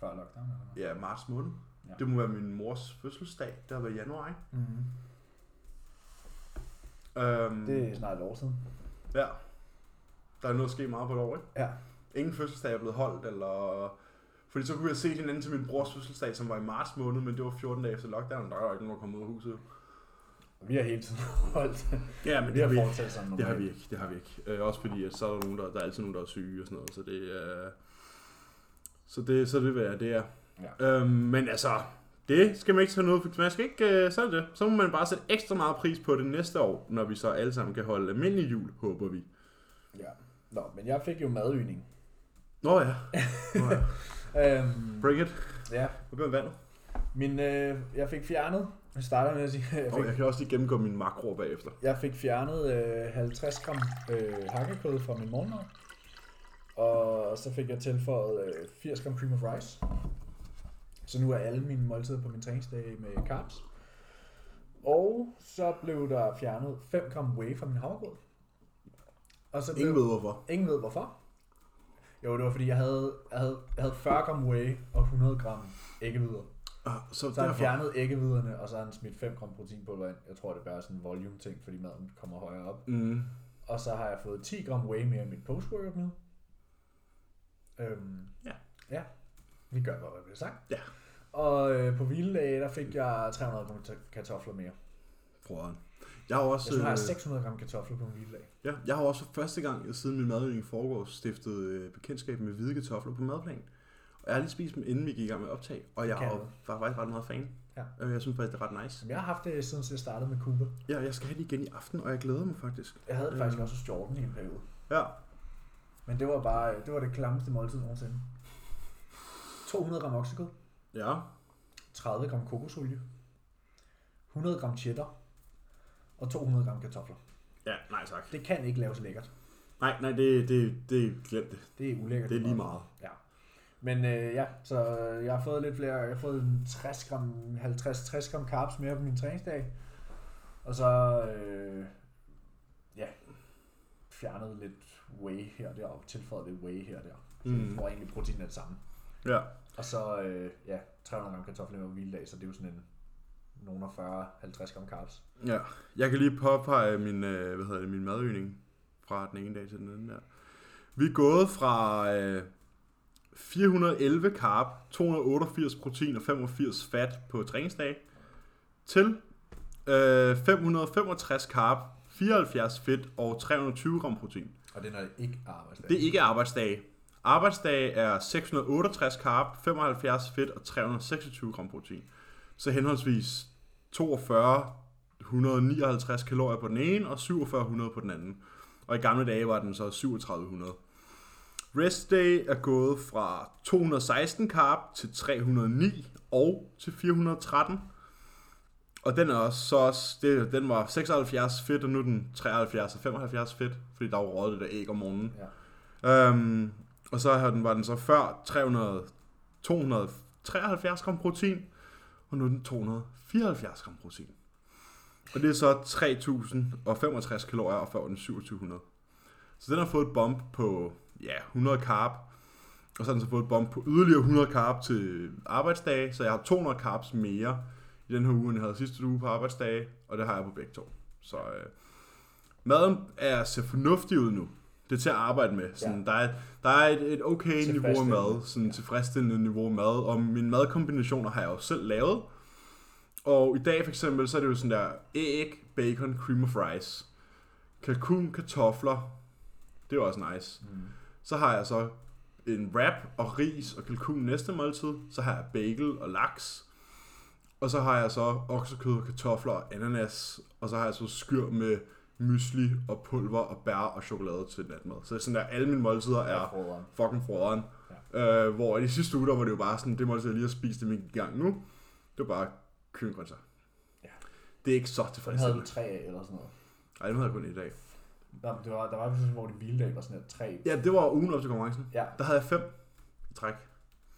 [SPEAKER 1] Før lockdown, eller hvad?
[SPEAKER 2] ja, marts måned.
[SPEAKER 1] Ja.
[SPEAKER 2] Ja. Det må være min mors fødselsdag, der var i januar, ikke?
[SPEAKER 1] Mm-hmm.
[SPEAKER 2] Øhm,
[SPEAKER 1] Det er snart et år siden.
[SPEAKER 2] Ja. Der er noget at ske meget på et år, ikke?
[SPEAKER 1] Ja.
[SPEAKER 2] Ingen fødselsdag er blevet holdt, eller... Fordi så kunne vi have set hinanden til min brors fødselsdag, som var i marts måned, men det var 14 dage efter lockdown, der var jo ikke nogen, der kom ud af huset. jo.
[SPEAKER 1] Og vi har hele tiden holdt.
[SPEAKER 2] Ja,
[SPEAKER 1] vi har fortsat sådan
[SPEAKER 2] Det har vi
[SPEAKER 1] normalt.
[SPEAKER 2] ikke, det har vi ikke. Øh, også fordi, at så er der, nogen, der, der er altid nogen, der er syge og sådan noget, så det øh, så det, så det, hvad det er. Ja. Øhm, men altså, det skal man ikke tage noget for. Man skal ikke, øh, så er det. Så må man bare sætte ekstra meget pris på det næste år, når vi så alle sammen kan holde almindelig jul, håber vi.
[SPEAKER 1] Ja. Nå, men jeg fik jo madøgning.
[SPEAKER 2] Nå ja. Nå ja.
[SPEAKER 1] Øhm,
[SPEAKER 2] Bring it.
[SPEAKER 1] ja.
[SPEAKER 2] Hvor bliver vandet?
[SPEAKER 1] Min, øh, jeg fik fjernet. Jeg starter med at sige, jeg
[SPEAKER 2] Og
[SPEAKER 1] fik
[SPEAKER 2] jeg kan også lige gennemgå mine makroer bagefter.
[SPEAKER 1] Jeg fik fjernet øh, 50 gram øh, hakkekød fra min morgenmad. Og så fik jeg tilføjet øh, 80 gram cream of rice. Så nu er alle mine måltider på min træningsdag med carbs. Og så blev der fjernet 5 gram whey fra min havregrød. Og så blev,
[SPEAKER 2] Ingen ved hvorfor.
[SPEAKER 1] ingen ved hvorfor. Jo, det var fordi, jeg havde, jeg havde, jeg havde 40 gram whey og 100 gram æggehvider.
[SPEAKER 2] Ah, så,
[SPEAKER 1] Så har
[SPEAKER 2] derfor.
[SPEAKER 1] han fjernet æggeviderne, og så har han smidt 5 gram proteinpulver ind. Jeg tror, det er bare sådan en volume-ting, fordi maden kommer højere op.
[SPEAKER 2] Mm.
[SPEAKER 1] Og så har jeg fået 10 gram whey mere i mit post-workout meal. Øhm,
[SPEAKER 2] Ja.
[SPEAKER 1] Ja. Vi gør bare, hvad vi har sagt.
[SPEAKER 2] Ja.
[SPEAKER 1] Og øh, på hviledage, der fik jeg 300 gram ta- kartofler mere.
[SPEAKER 2] Prøv at- Jeg har jo også...
[SPEAKER 1] Jeg tror, jeg har
[SPEAKER 2] øh,
[SPEAKER 1] 600 gram kartofler på en hviledag.
[SPEAKER 2] Ja, jeg har også for første gang siden min madøgning foregår stiftet øh, bekendtskab med hvide kartofler på madplan. Og jeg har lige spist dem, inden vi gik i gang med optag, og jeg
[SPEAKER 1] Kan
[SPEAKER 2] var,
[SPEAKER 1] du?
[SPEAKER 2] var faktisk ret meget fan.
[SPEAKER 1] Ja.
[SPEAKER 2] Øh, jeg synes faktisk, det er ret nice.
[SPEAKER 1] Som jeg har haft det, siden jeg startede med Cooper.
[SPEAKER 2] Ja, jeg skal have det igen i aften, og jeg glæder mig faktisk.
[SPEAKER 1] Jeg havde det faktisk
[SPEAKER 2] Øh.
[SPEAKER 1] også hos Jordan i en periode.
[SPEAKER 2] Ja,
[SPEAKER 1] Men det var bare øh, det, var det klammeste måltid nogensinde. 200 gram oksekød,
[SPEAKER 2] ja.
[SPEAKER 1] 30 gram kokosolie, 100 gram cheddar og 200 gram kartofler.
[SPEAKER 2] Ja, nej tak.
[SPEAKER 1] Det kan ikke laves lækkert.
[SPEAKER 2] Nej, nej, det, det, det glemt det.
[SPEAKER 1] Det er ulækkert.
[SPEAKER 2] Det er lige meget.
[SPEAKER 1] Ja. Men øh, ja, så jeg har fået lidt flere, jeg har fået en 60 gram, 50-60 gram carbs mere på min træningsdag. Og så, øh, ja, fjernet lidt whey her og der, og tilføjet lidt whey her og der. Så mm.
[SPEAKER 2] Mm.
[SPEAKER 1] jeg får egentlig protein af det samme.
[SPEAKER 2] Ja,
[SPEAKER 1] Og så, øh, ja, 300 gram kartofler med hviledag, så det er jo sådan en nogen af 40-50 gram carbs.
[SPEAKER 2] ja. Jeg kan lige påpege min, øh, hvad hedder det, min madøgning fra den ene dag til den anden. Der. Vi er gået fra øh, 411 carb, 288 protein og 85 fat på træningsdag til øh, 565 carb, 74 fedt og 320 gram protein.
[SPEAKER 1] Og det er, når det ikke er arbejdsdag.
[SPEAKER 2] Det er ikke arbejdsdage. Arbejdsdage er 668 carb, 75 fedt og 326 gram protein. Så henholdsvis 42 159 kalorier på den ene og 4700 på den anden. Og i gamle dage var den så 3700. Rest day er gået fra 216 carb til 309 og til 413. Og den er også, så også det, den var 76 fedt, og nu er den 73 og 75 fedt, fordi der var røget det der æg om morgenen.
[SPEAKER 1] Ja.
[SPEAKER 2] Øhm, og så har den, var den så før 300, 273 gram protein, og nu er den 274 gram protein. Og det er så 3065 kalorier og før den 2700. Så den har fået et bump på ja, 100 carb, og så har den så fået et bump på yderligere 100 carb til arbejdsdage, så jeg har 200 carbs mere i den her uge, end jeg havde sidste uge på arbejdsdage, og det har jeg på begge to. Så øh, maden er, ser fornuftig ud nu. Det er til at arbejde med. Sådan, ja. der, er, der er et, et okay niveau af mad, sådan ja. tilfredsstillende niveau af mad, og mine madkombinationer har jeg jo selv lavet. Og i dag for eksempel, så er det jo sådan der æg, bacon, cream of rice, kalkun, kartofler. Det er jo også nice.
[SPEAKER 1] Mm.
[SPEAKER 2] Så har jeg så en wrap og ris og kalkun næste måltid. Så har jeg bagel og laks. Og så har jeg så oksekød og kartofler og ananas. Og så har jeg så skyr med mysli og pulver og bær og chokolade til natmad. Så det er sådan der, alle mine måltider er
[SPEAKER 1] Jeg prøver.
[SPEAKER 2] fucking froderen. Ja. Øh, hvor i de sidste uger, der var det jo bare sådan, det måltid, jeg lige har spist, det er min gang nu. Det var bare køkkengrøntsager.
[SPEAKER 1] Ja.
[SPEAKER 2] Det er ikke så
[SPEAKER 1] Den havde du
[SPEAKER 2] tilfredsstillende.
[SPEAKER 1] tre af eller sådan noget.
[SPEAKER 2] Nej, den havde jeg kun i dag.
[SPEAKER 1] Der, det var, der var pludselig, hvor det hviledag var sådan et tre.
[SPEAKER 2] Ja, det var ugen op til konkurrencen.
[SPEAKER 1] Ja.
[SPEAKER 2] Der havde jeg fem i træk.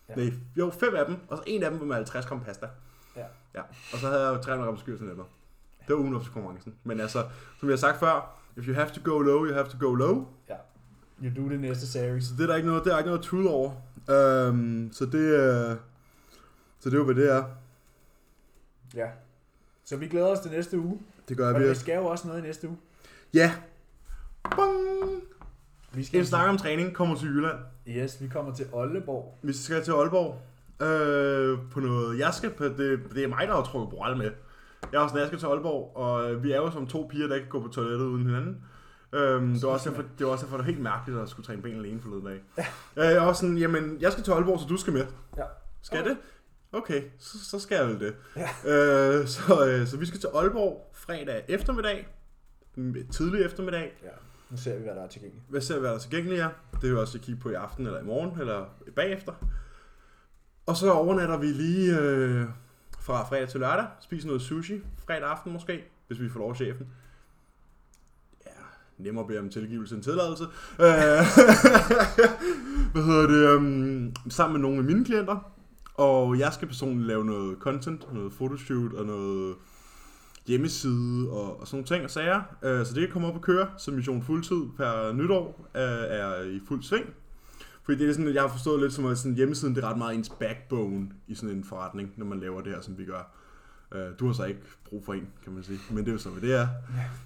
[SPEAKER 1] Ja.
[SPEAKER 2] Ja. Nej, jo, fem af dem, og så en af dem var med 50 gram pasta.
[SPEAKER 1] Ja.
[SPEAKER 2] ja. Og så havde jeg jo 300 gram skyr til netop. Det var ugen op til konkurrencen. Men altså, som jeg har sagt før, if you have to go low, you have to go low.
[SPEAKER 1] You do the necessary.
[SPEAKER 2] Så det er der ikke noget, det er der ikke noget tud over. Øhm, så det, øh, så det er jo, hvad det er.
[SPEAKER 1] Ja. Så vi glæder os til næste uge.
[SPEAKER 2] Det gør
[SPEAKER 1] Og
[SPEAKER 2] vi
[SPEAKER 1] vi
[SPEAKER 2] også.
[SPEAKER 1] skal jo også noget i næste uge.
[SPEAKER 2] Ja. Bong!
[SPEAKER 1] Vi
[SPEAKER 2] En snak om træning kommer til Jylland.
[SPEAKER 1] Yes, vi kommer til Aalborg.
[SPEAKER 2] Vi skal til Aalborg øh, på noget... Jeg skal på, det, det er mig, der har trukket Boral med. Jeg er også jeg skal til Aalborg, og øh, vi er jo som to piger, der ikke kan gå på toilettet uden hinanden. Øhm, det, var også, derfor, det var også derfor, det var helt mærkeligt at skulle træne ben alene forleden dag. Ja. Øh, jeg var sådan, jamen, jeg skal til Aalborg, så du skal med.
[SPEAKER 1] Ja.
[SPEAKER 2] Skal okay. det? Okay, så, så skal jeg vel det.
[SPEAKER 1] Ja.
[SPEAKER 2] Øh, så, øh, så vi skal til Aalborg fredag eftermiddag. Mm, Tidlig eftermiddag.
[SPEAKER 1] Ja. Nu ser vi, hvad der er tilgængeligt.
[SPEAKER 2] Hvad ser vi, hvad der er tilgængeligt er? Det kan vi også kigge på i aften, eller i morgen, eller bagefter. Og så overnatter vi lige øh, fra fredag til lørdag. Spiser noget sushi fredag aften måske, hvis vi får lov af chefen. Ja, nemmere at bede om tilgivelse end tilladelse. Øh, hvad hedder det? Um, sammen med nogle af mine klienter. Og jeg skal personligt lave noget content, noget photoshoot og noget hjemmeside og, og sådan nogle ting og sager. Øh, så det kan komme op og køre, så Mission Fuldtid per nytår øh, er i fuld sving. Fordi det er sådan, at jeg har forstået lidt som, at sådan hjemmesiden det er ret meget ens backbone i sådan en forretning, når man laver det her, som vi gør. Øh, du har så ikke brug for en, kan man sige. Men det er jo så, hvad det er.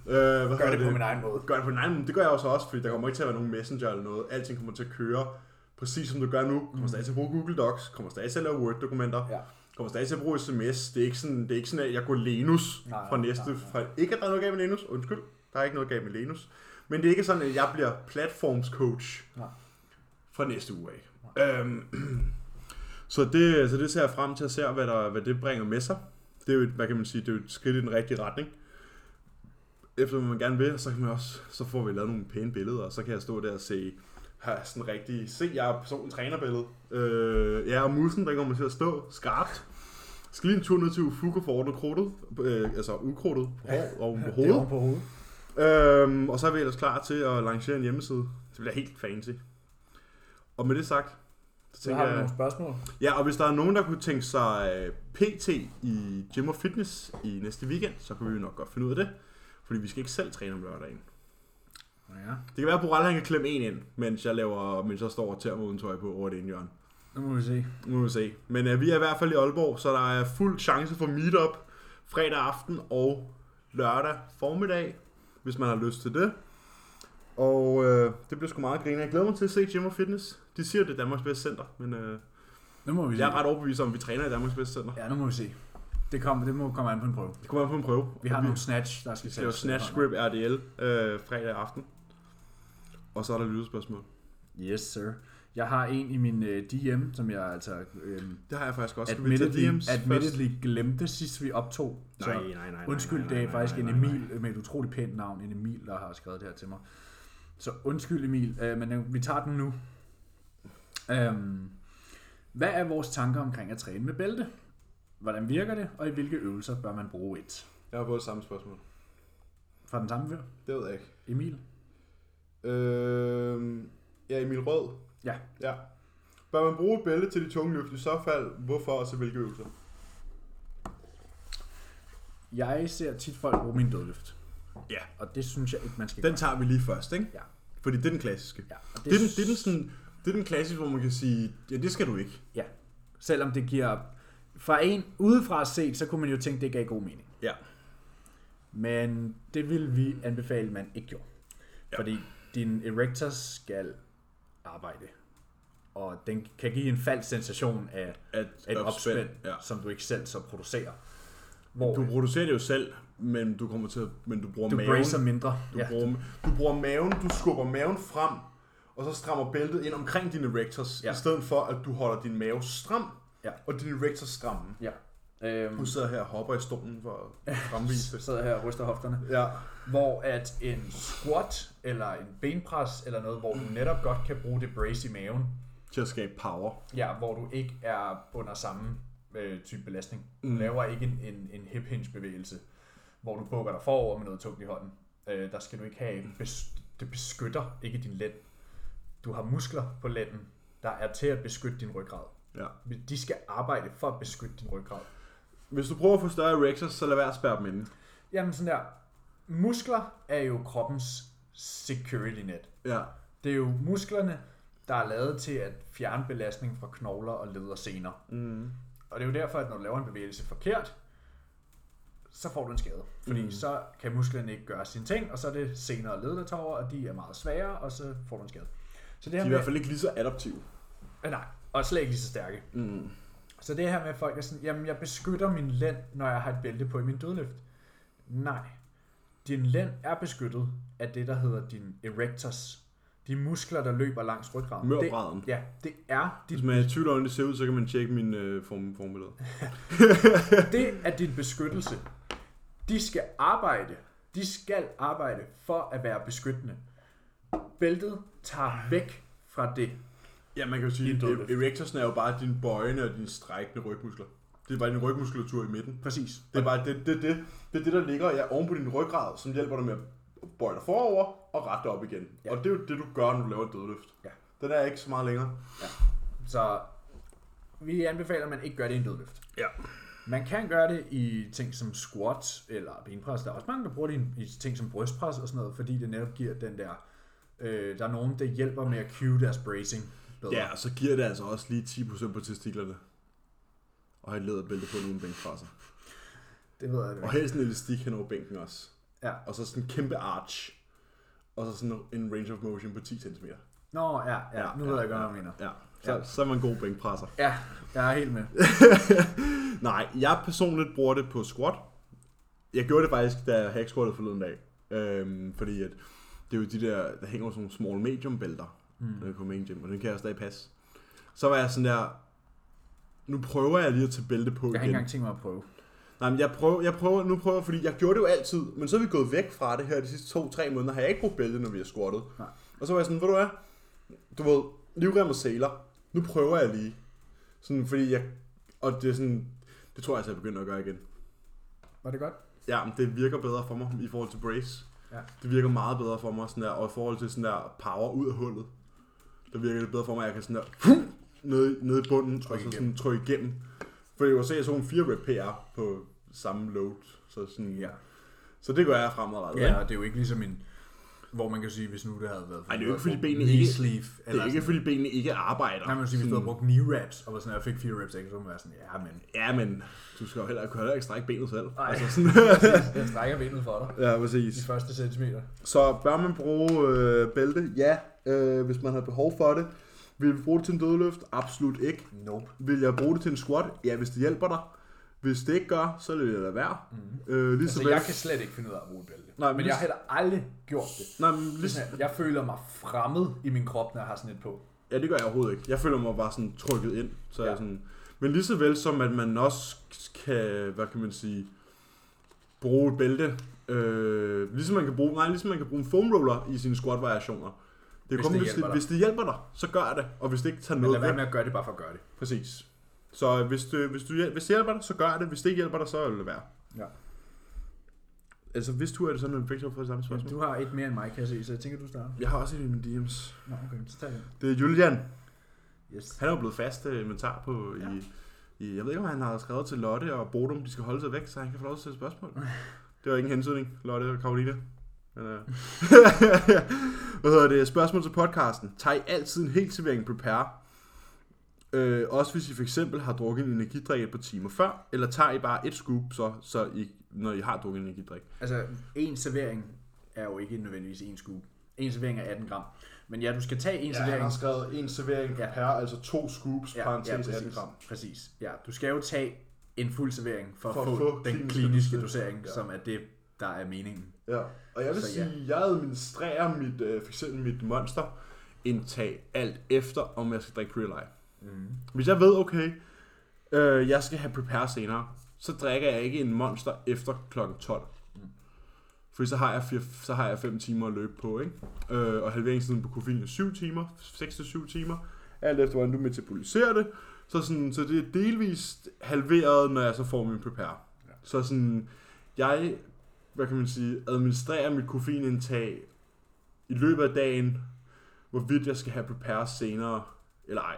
[SPEAKER 2] Ja. Øh, hvad
[SPEAKER 1] Gør
[SPEAKER 2] hedder
[SPEAKER 1] det på min egen måde.
[SPEAKER 2] Gør det på din egen måde. Det gør jeg også, også, fordi der kommer ikke til at være nogen messenger eller noget. Alting kommer til at køre præcis som du gør nu. Kommer stadig til at bruge Google Docs, kommer stadig til at lave Word-dokumenter
[SPEAKER 1] Mm. Ja.
[SPEAKER 2] kommer stadig til at bruge sms. Det er ikke sådan, det er ikke sådan at jeg går Lenus
[SPEAKER 1] Nej,
[SPEAKER 2] fra
[SPEAKER 1] nej,
[SPEAKER 2] næste...
[SPEAKER 1] nej,
[SPEAKER 2] Fra, ikke, at der er noget galt med Lenus. Undskyld, der er ikke noget galt med Lenus. Men det er ikke sådan, at jeg bliver platformscoach
[SPEAKER 1] Nej.
[SPEAKER 2] fra næste uge af. Øhm, så, det, så det ser jeg frem til at se, hvad, der, hvad det bringer med sig. Det er jo et, hvad kan man sige, det er jo et skridt i den rigtige retning. Efter hvad man gerne vil, og så kan man også, så får vi lavet nogle pæne billeder, og så kan jeg stå der og se, har sådan rigtig, se, jeg har personen trænerbillede. Øh, ja, og musen, der kommer til at stå skarpt. Skal lige en tur ned til Ufuko for ordnet krudtet, øh, altså ukrudtet på hår og på
[SPEAKER 1] Det er
[SPEAKER 2] hovedet.
[SPEAKER 1] oven på hovedet.
[SPEAKER 2] Øhm, og så er vi ellers klar til at lancere en hjemmeside. Det bliver helt fancy. Og med det sagt,
[SPEAKER 1] Så
[SPEAKER 2] så tænker
[SPEAKER 1] har vi
[SPEAKER 2] jeg...
[SPEAKER 1] nogle spørgsmål.
[SPEAKER 2] Ja, og hvis der er nogen, der kunne tænke sig øh, PT i gym og fitness i næste weekend, så kan vi jo nok godt finde ud af det. Fordi vi skal ikke selv træne om lørdagen.
[SPEAKER 1] Ja.
[SPEAKER 2] Det kan være, at Borrell han kan klemme en ind, mens jeg, laver, mens jeg står og tærer mig uden tøj på over det ene hjørne.
[SPEAKER 1] Nu må vi se.
[SPEAKER 2] Nu må vi se. Men øh, vi er i hvert fald i Aalborg, så der er fuld chance for meetup fredag aften og lørdag formiddag, hvis man har lyst til det. Og øh, det bliver sgu meget griner. Jeg glæder mig til at se Gym og Fitness. De siger, det er Danmarks bedste center, men øh,
[SPEAKER 1] Nu må vi se.
[SPEAKER 2] jeg er ret overbevist om, at vi træner i Danmarks bedste center.
[SPEAKER 1] Ja, nu må vi se. Det, kommer, det må komme an på en prøve.
[SPEAKER 2] Det kommer an på en prøve.
[SPEAKER 1] Vi har
[SPEAKER 2] Og
[SPEAKER 1] nogle snatch, der skal
[SPEAKER 2] vi skal lave Snatch Grip RDL øh, fredag aften. Og så er der lytterspørgsmål.
[SPEAKER 1] Yes, sir. Jeg har en i min øh, DM, som jeg altså øhm,
[SPEAKER 2] Det har jeg faktisk også. Skal vi tage
[SPEAKER 1] admittedly,
[SPEAKER 2] DM's først?
[SPEAKER 1] admittedly glemte sidst vi optog. Så
[SPEAKER 2] Nej, nej, nej, nej,
[SPEAKER 1] undskyld,
[SPEAKER 2] nej, nej,
[SPEAKER 1] det er
[SPEAKER 2] nej,
[SPEAKER 1] faktisk
[SPEAKER 2] nej,
[SPEAKER 1] en
[SPEAKER 2] nej,
[SPEAKER 1] Emil med et utroligt pænt navn, en Emil, der har skrevet det her til mig. Så undskyld Emil, øh, men øh, vi tager den nu. Øhm, hvad er vores tanker omkring at træne med bælte? Hvordan virker det, og i hvilke øvelser bør man bruge et?
[SPEAKER 2] Jeg har fået samme spørgsmål.
[SPEAKER 1] Fra den samme fyr,
[SPEAKER 2] Det ved jeg ikke.
[SPEAKER 1] Emil.
[SPEAKER 2] Øh, ja, Emil Rød.
[SPEAKER 1] Ja,
[SPEAKER 2] Ja. Bør man bruge et bælte til de tunge løft? I så fald, hvorfor og til hvilke øvelser?
[SPEAKER 1] jeg ser tit folk bruge min dødløft,
[SPEAKER 2] Ja,
[SPEAKER 1] og det synes jeg ikke, man skal
[SPEAKER 2] den tager vi lige først, ikke?
[SPEAKER 1] Ja.
[SPEAKER 2] Fordi det er den klassiske.
[SPEAKER 1] Ja, og
[SPEAKER 2] Det, er den, det, er den sådan, det er den klassiske, hvor man kan sige, ja, det skal du ikke.
[SPEAKER 1] Ja, selvom det giver... Fra en udefra set, så kunne man jo tænke, det gav god mening.
[SPEAKER 2] Ja.
[SPEAKER 1] Men det vil vi anbefale, man ikke gjorde.
[SPEAKER 2] Ja.
[SPEAKER 1] Ja. Fordi din erector skal arbejde. Og den kan give en falsk sensation af
[SPEAKER 2] At,
[SPEAKER 1] et opspænd,
[SPEAKER 2] Ja.
[SPEAKER 1] ja. som du ikke selv så producerer. Hvor
[SPEAKER 2] Du
[SPEAKER 1] du,
[SPEAKER 2] producerer det jo selv, men du kommer til at, men du bruger
[SPEAKER 1] du
[SPEAKER 2] maven.
[SPEAKER 1] bracer mindre.
[SPEAKER 2] Du, ja. bruger, du bruger maven, du skubber maven frem, og så strammer bæltet ind omkring dine rectors, ja.
[SPEAKER 1] Ja.
[SPEAKER 2] i stedet for at du holder din mave stram,
[SPEAKER 1] Ja.
[SPEAKER 2] og dine rectors stramme.
[SPEAKER 1] ja. Øhm,
[SPEAKER 2] Du sidder her og hopper i stolen for at fremvise det.
[SPEAKER 1] sidder her og ryster hofterne.
[SPEAKER 2] Ja.
[SPEAKER 1] Hvor at en squat eller en benpres eller noget, hvor du netop godt kan bruge det brace i maven,
[SPEAKER 2] Til at skabe power.
[SPEAKER 1] Ja, hvor du ikke er under samme øh, type belastning. Du mm. laver ikke en, en, en hip hinge bevægelse, hvor du bukker dig forover med noget tungt i hånden. Øh, der skal du ikke have, bes, det beskytter ikke din lænd. Du har muskler på lænden, der er til at beskytte din ryggrad.
[SPEAKER 2] Ja.
[SPEAKER 1] Men De skal arbejde for at beskytte din ryggrad.
[SPEAKER 2] Hvis du prøver at få større erectors, så lad være at spærre dem inde.
[SPEAKER 1] Jamen sådan der, muskler er jo kroppens security net.
[SPEAKER 2] Ja.
[SPEAKER 1] Det er jo musklerne, der er lavet til at fjerne belastning fra knogler og led og sener. Mm. Og det er jo derfor, at når du laver en bevægelse forkert, så får du en skade. Fordi mm. så kan musklerne ikke gøre sine ting, og så er det senere og led, der tager over, og de er meget svagere, og så får du en skade. Så det
[SPEAKER 2] De
[SPEAKER 1] her
[SPEAKER 2] er i
[SPEAKER 1] med,
[SPEAKER 2] hvert fald ikke lige så adaptive.
[SPEAKER 1] Ah, nej, og slet ikke lige så stærke. Mm. Så det her med, at folk er sådan, jamen jeg beskytter min lænd, når jeg har et bælte på i min dødløft. Nej. Din lænd er beskyttet af det, der hedder din erectors. De muskler, der løber langs ryggraden.
[SPEAKER 2] Mørbræden.
[SPEAKER 1] Det- Ja, det er dit,
[SPEAKER 2] Hvis man er i tvivl om, hvordan det ser ud, så kan man tjekke min øh, form, formbillede.
[SPEAKER 1] det er din beskyttelse. De skal arbejde. De skal arbejde for at være beskyttende. Bæltet tager væk fra det.
[SPEAKER 2] Ja, man kan jo sige,
[SPEAKER 1] I en dødløft.
[SPEAKER 2] e- erectorsen er jo bare dine bøjende og dine strækkende rygmuskler. Det er bare din rygmuskulatur i midten.
[SPEAKER 1] Præcis.
[SPEAKER 2] Det er bare det, det, det, det, er det der ligger ja, oven på din ryggrad, som hjælper dig med at bøje dig forover og rette dig op igen. Ja.
[SPEAKER 1] Ja.
[SPEAKER 2] Og det er jo det, du gør, når du laver et dødløft.
[SPEAKER 1] Ja.
[SPEAKER 2] Den er ikke så meget længere.
[SPEAKER 1] Så vi anbefaler, at man ikke gør det i en dødløft.
[SPEAKER 2] Ja.
[SPEAKER 1] Man kan gøre det i ting som squats eller benpres. Der er også mange, der bruger det i- i ting som brystpres og sådan noget, fordi det netop giver den der... Øh, der er nogen, der hjælper med at cue deres bracing bedre.
[SPEAKER 2] Ja, og så giver det altså også lige 10% på testiklerne. Og have et læderbælte på nogle bænkfrasser.
[SPEAKER 1] Det ved jeg
[SPEAKER 2] Og
[SPEAKER 1] ikke.
[SPEAKER 2] helst en elastik hen over bænken også.
[SPEAKER 1] Ja.
[SPEAKER 2] Og så sådan en kæmpe arch. Og så sådan en range of motion på 10 cm.
[SPEAKER 1] Nå, ja, ja. Nu ved jeg godt, hvad du mener.
[SPEAKER 2] Ja, så, ja. så er man en god bænkpresser.
[SPEAKER 1] Ja, jeg er helt med.
[SPEAKER 2] Nej, jeg personligt bruger det på squat. Jeg gjorde det faktisk, da jeg hack squattede forleden dag. Øhm, fordi at det er jo de der, der hænger jo sådan nogle small medium bælter, mm. når jeg kommer ind i gym, og den kan jeg stadig passe. Så var jeg sådan der, nu prøver jeg lige at tage bælte på
[SPEAKER 1] Jeg har ikke
[SPEAKER 2] igen.
[SPEAKER 1] engang tænkt mig at prøve.
[SPEAKER 2] Nej, men jeg prøver, jeg prøver, nu prøver jeg, fordi jeg gjorde det jo altid, men så er vi gået væk fra det her de sidste to-tre måneder, har jeg ikke brugt bælte, når vi har squattet.
[SPEAKER 1] Nej.
[SPEAKER 2] Og så var jeg sådan, ved du hvad, du ved, livrem og sæler, nu prøver jeg lige. Sådan, fordi jeg, og det er sådan, det tror jeg altså, jeg begynder at gøre igen.
[SPEAKER 1] Var det godt?
[SPEAKER 2] Ja, men det virker bedre for mig i forhold til brace.
[SPEAKER 1] Ja.
[SPEAKER 2] Det virker meget bedre for mig, sådan der, og i forhold til sådan der power ud af hullet, der virker det bedre for mig, at jeg kan sådan der, ned, ned i bunden, tryk og så sådan trykke igennem. For det var så jeg så en 4 rep PR på samme load, så sådan, ja. Så det gør jeg fremadrettet.
[SPEAKER 1] Ja,
[SPEAKER 2] ikke?
[SPEAKER 1] og det er jo ikke ligesom en... Hvor man kan sige, hvis nu det havde været...
[SPEAKER 2] Ej, det er jo ikke, fordi
[SPEAKER 1] brugt
[SPEAKER 2] benene
[SPEAKER 1] knee
[SPEAKER 2] ikke-
[SPEAKER 1] Sleeve,
[SPEAKER 2] Det er ikke, fordi benene ikke arbejder.
[SPEAKER 1] Nej, man sige, hvis du havde brugt knee reps, og var sådan, at jeg fik fire reps ekstra, så må man være sådan, ja, men
[SPEAKER 2] Ja, men du skal jo heller, du kan heller ikke strække benet selv.
[SPEAKER 1] Ej.
[SPEAKER 2] Altså sådan.
[SPEAKER 1] jeg strækker benet for dig.
[SPEAKER 2] ja, præcis.
[SPEAKER 1] De første centimeter.
[SPEAKER 2] Så bør man bruge øh, bælte? Ja, øh, hvis man har behov for det. Vil vi bruge det til en dødløft? Absolut ikke.
[SPEAKER 1] Nope.
[SPEAKER 2] Vil jeg bruge det til en squat? Ja, hvis det hjælper dig. Hvis det ikke gør, så lader jeg det lade være. Mm. Øh, lige
[SPEAKER 1] Altså,
[SPEAKER 2] så vel.
[SPEAKER 1] jeg kan slet ikke finde ud af at bruge et bælte.
[SPEAKER 2] Nej,
[SPEAKER 1] men
[SPEAKER 2] men-
[SPEAKER 1] jeg har heller aldrig gjort det.
[SPEAKER 2] Nej, men lige så...
[SPEAKER 1] Jeg føler mig fremmed i min krop, når jeg har sådan et på.
[SPEAKER 2] Ja, det gør jeg overhovedet ikke. Jeg føler mig bare sådan trykket ind. Så ja.
[SPEAKER 1] Ja.
[SPEAKER 2] jeg sådan... Men lige så vel som, at man også kan, hvad kan man sige, bruge et bælte. Øh, ligesom man kan bruge, nej, ligesom man kan bruge en foam roller i sine squat variationer. Det er
[SPEAKER 1] Hvis
[SPEAKER 2] kun,
[SPEAKER 1] det
[SPEAKER 2] hvis,
[SPEAKER 1] hjælper
[SPEAKER 2] det,
[SPEAKER 1] dig.
[SPEAKER 2] hvis det hjælper dig, så gør det. Og hvis det ikke tager
[SPEAKER 1] Men
[SPEAKER 2] noget
[SPEAKER 1] lad
[SPEAKER 2] væk,
[SPEAKER 1] være med at gøre det bare for at gøre det.
[SPEAKER 2] Præcis. Så øh, hvis, du, hvis, du, hjæl- hvis det hjælper dig, så gør det. Hvis det ikke hjælper dig, så lad det være.
[SPEAKER 1] Ja.
[SPEAKER 2] Altså, hvis du er det sådan, at Victor får det samme spørgsmål.
[SPEAKER 1] Du har et mere end mig, kan jeg se, så jeg tænker, du starter.
[SPEAKER 2] Jeg har også et i mine DM's.
[SPEAKER 1] Nå, okay, så tager jeg den.
[SPEAKER 2] Det er Julian.
[SPEAKER 1] Yes.
[SPEAKER 2] Han er jo blevet fast øh, inventar på ja.
[SPEAKER 1] Ja.
[SPEAKER 2] i, i... Jeg ved ikke, om han har skrevet til Lotte og Bodum, de skal holde sig væk, så han kan få lov til at stille spørgsmål. Det var ikke en hensydning, Lotte og Karoline. Men, øh. Hvad hedder det? Spørgsmål til podcasten. Tag I altid en hel servering prepare? Øh, også hvis I for eksempel har drukket en energidrik et par timer før, eller tager I bare et scoop, så, så I, når I har drukket en energidrik?
[SPEAKER 1] Altså, en servering er jo ikke nødvendigvis en skue. En servering er 18 gram. Men ja, du skal tage en servering.
[SPEAKER 2] skrevet en servering
[SPEAKER 1] Ja.
[SPEAKER 2] per, altså to scoops,
[SPEAKER 1] præcis, præcis. Ja, du skal jo tage en fuld servering for,
[SPEAKER 2] For
[SPEAKER 1] at
[SPEAKER 2] at
[SPEAKER 1] få,
[SPEAKER 2] få
[SPEAKER 1] den
[SPEAKER 2] kliniske
[SPEAKER 1] kliniske
[SPEAKER 2] dosering.
[SPEAKER 1] dosering,
[SPEAKER 2] Ja.
[SPEAKER 1] som er det, der er meningen.
[SPEAKER 2] Ja, og jeg vil
[SPEAKER 1] Så
[SPEAKER 2] så,
[SPEAKER 1] ja.
[SPEAKER 2] sige, ja. jeg administrerer mit, øh, for eksempel mit monster indtag alt efter, om jeg skal drikke pre-life.
[SPEAKER 1] Mm.
[SPEAKER 2] Hvis jeg ved, okay, øh, jeg skal have prepare senere, så drikker jeg ikke en monster efter kl. 12. Mm. Fordi så har jeg fire, så har jeg 5 timer at løbe på, ikke? Øh, og halveringstiden på koffein er 7 timer, 6-7 timer, alt efter hvordan du metaboliserer det. Så, sådan, så det er delvist halveret, når jeg så får min prepare.
[SPEAKER 1] Ja.
[SPEAKER 2] Ja. Så sådan, jeg, hvad kan man sige, administrerer mit koffeinindtag i løbet af dagen, hvorvidt jeg skal have prepare senere, eller ej.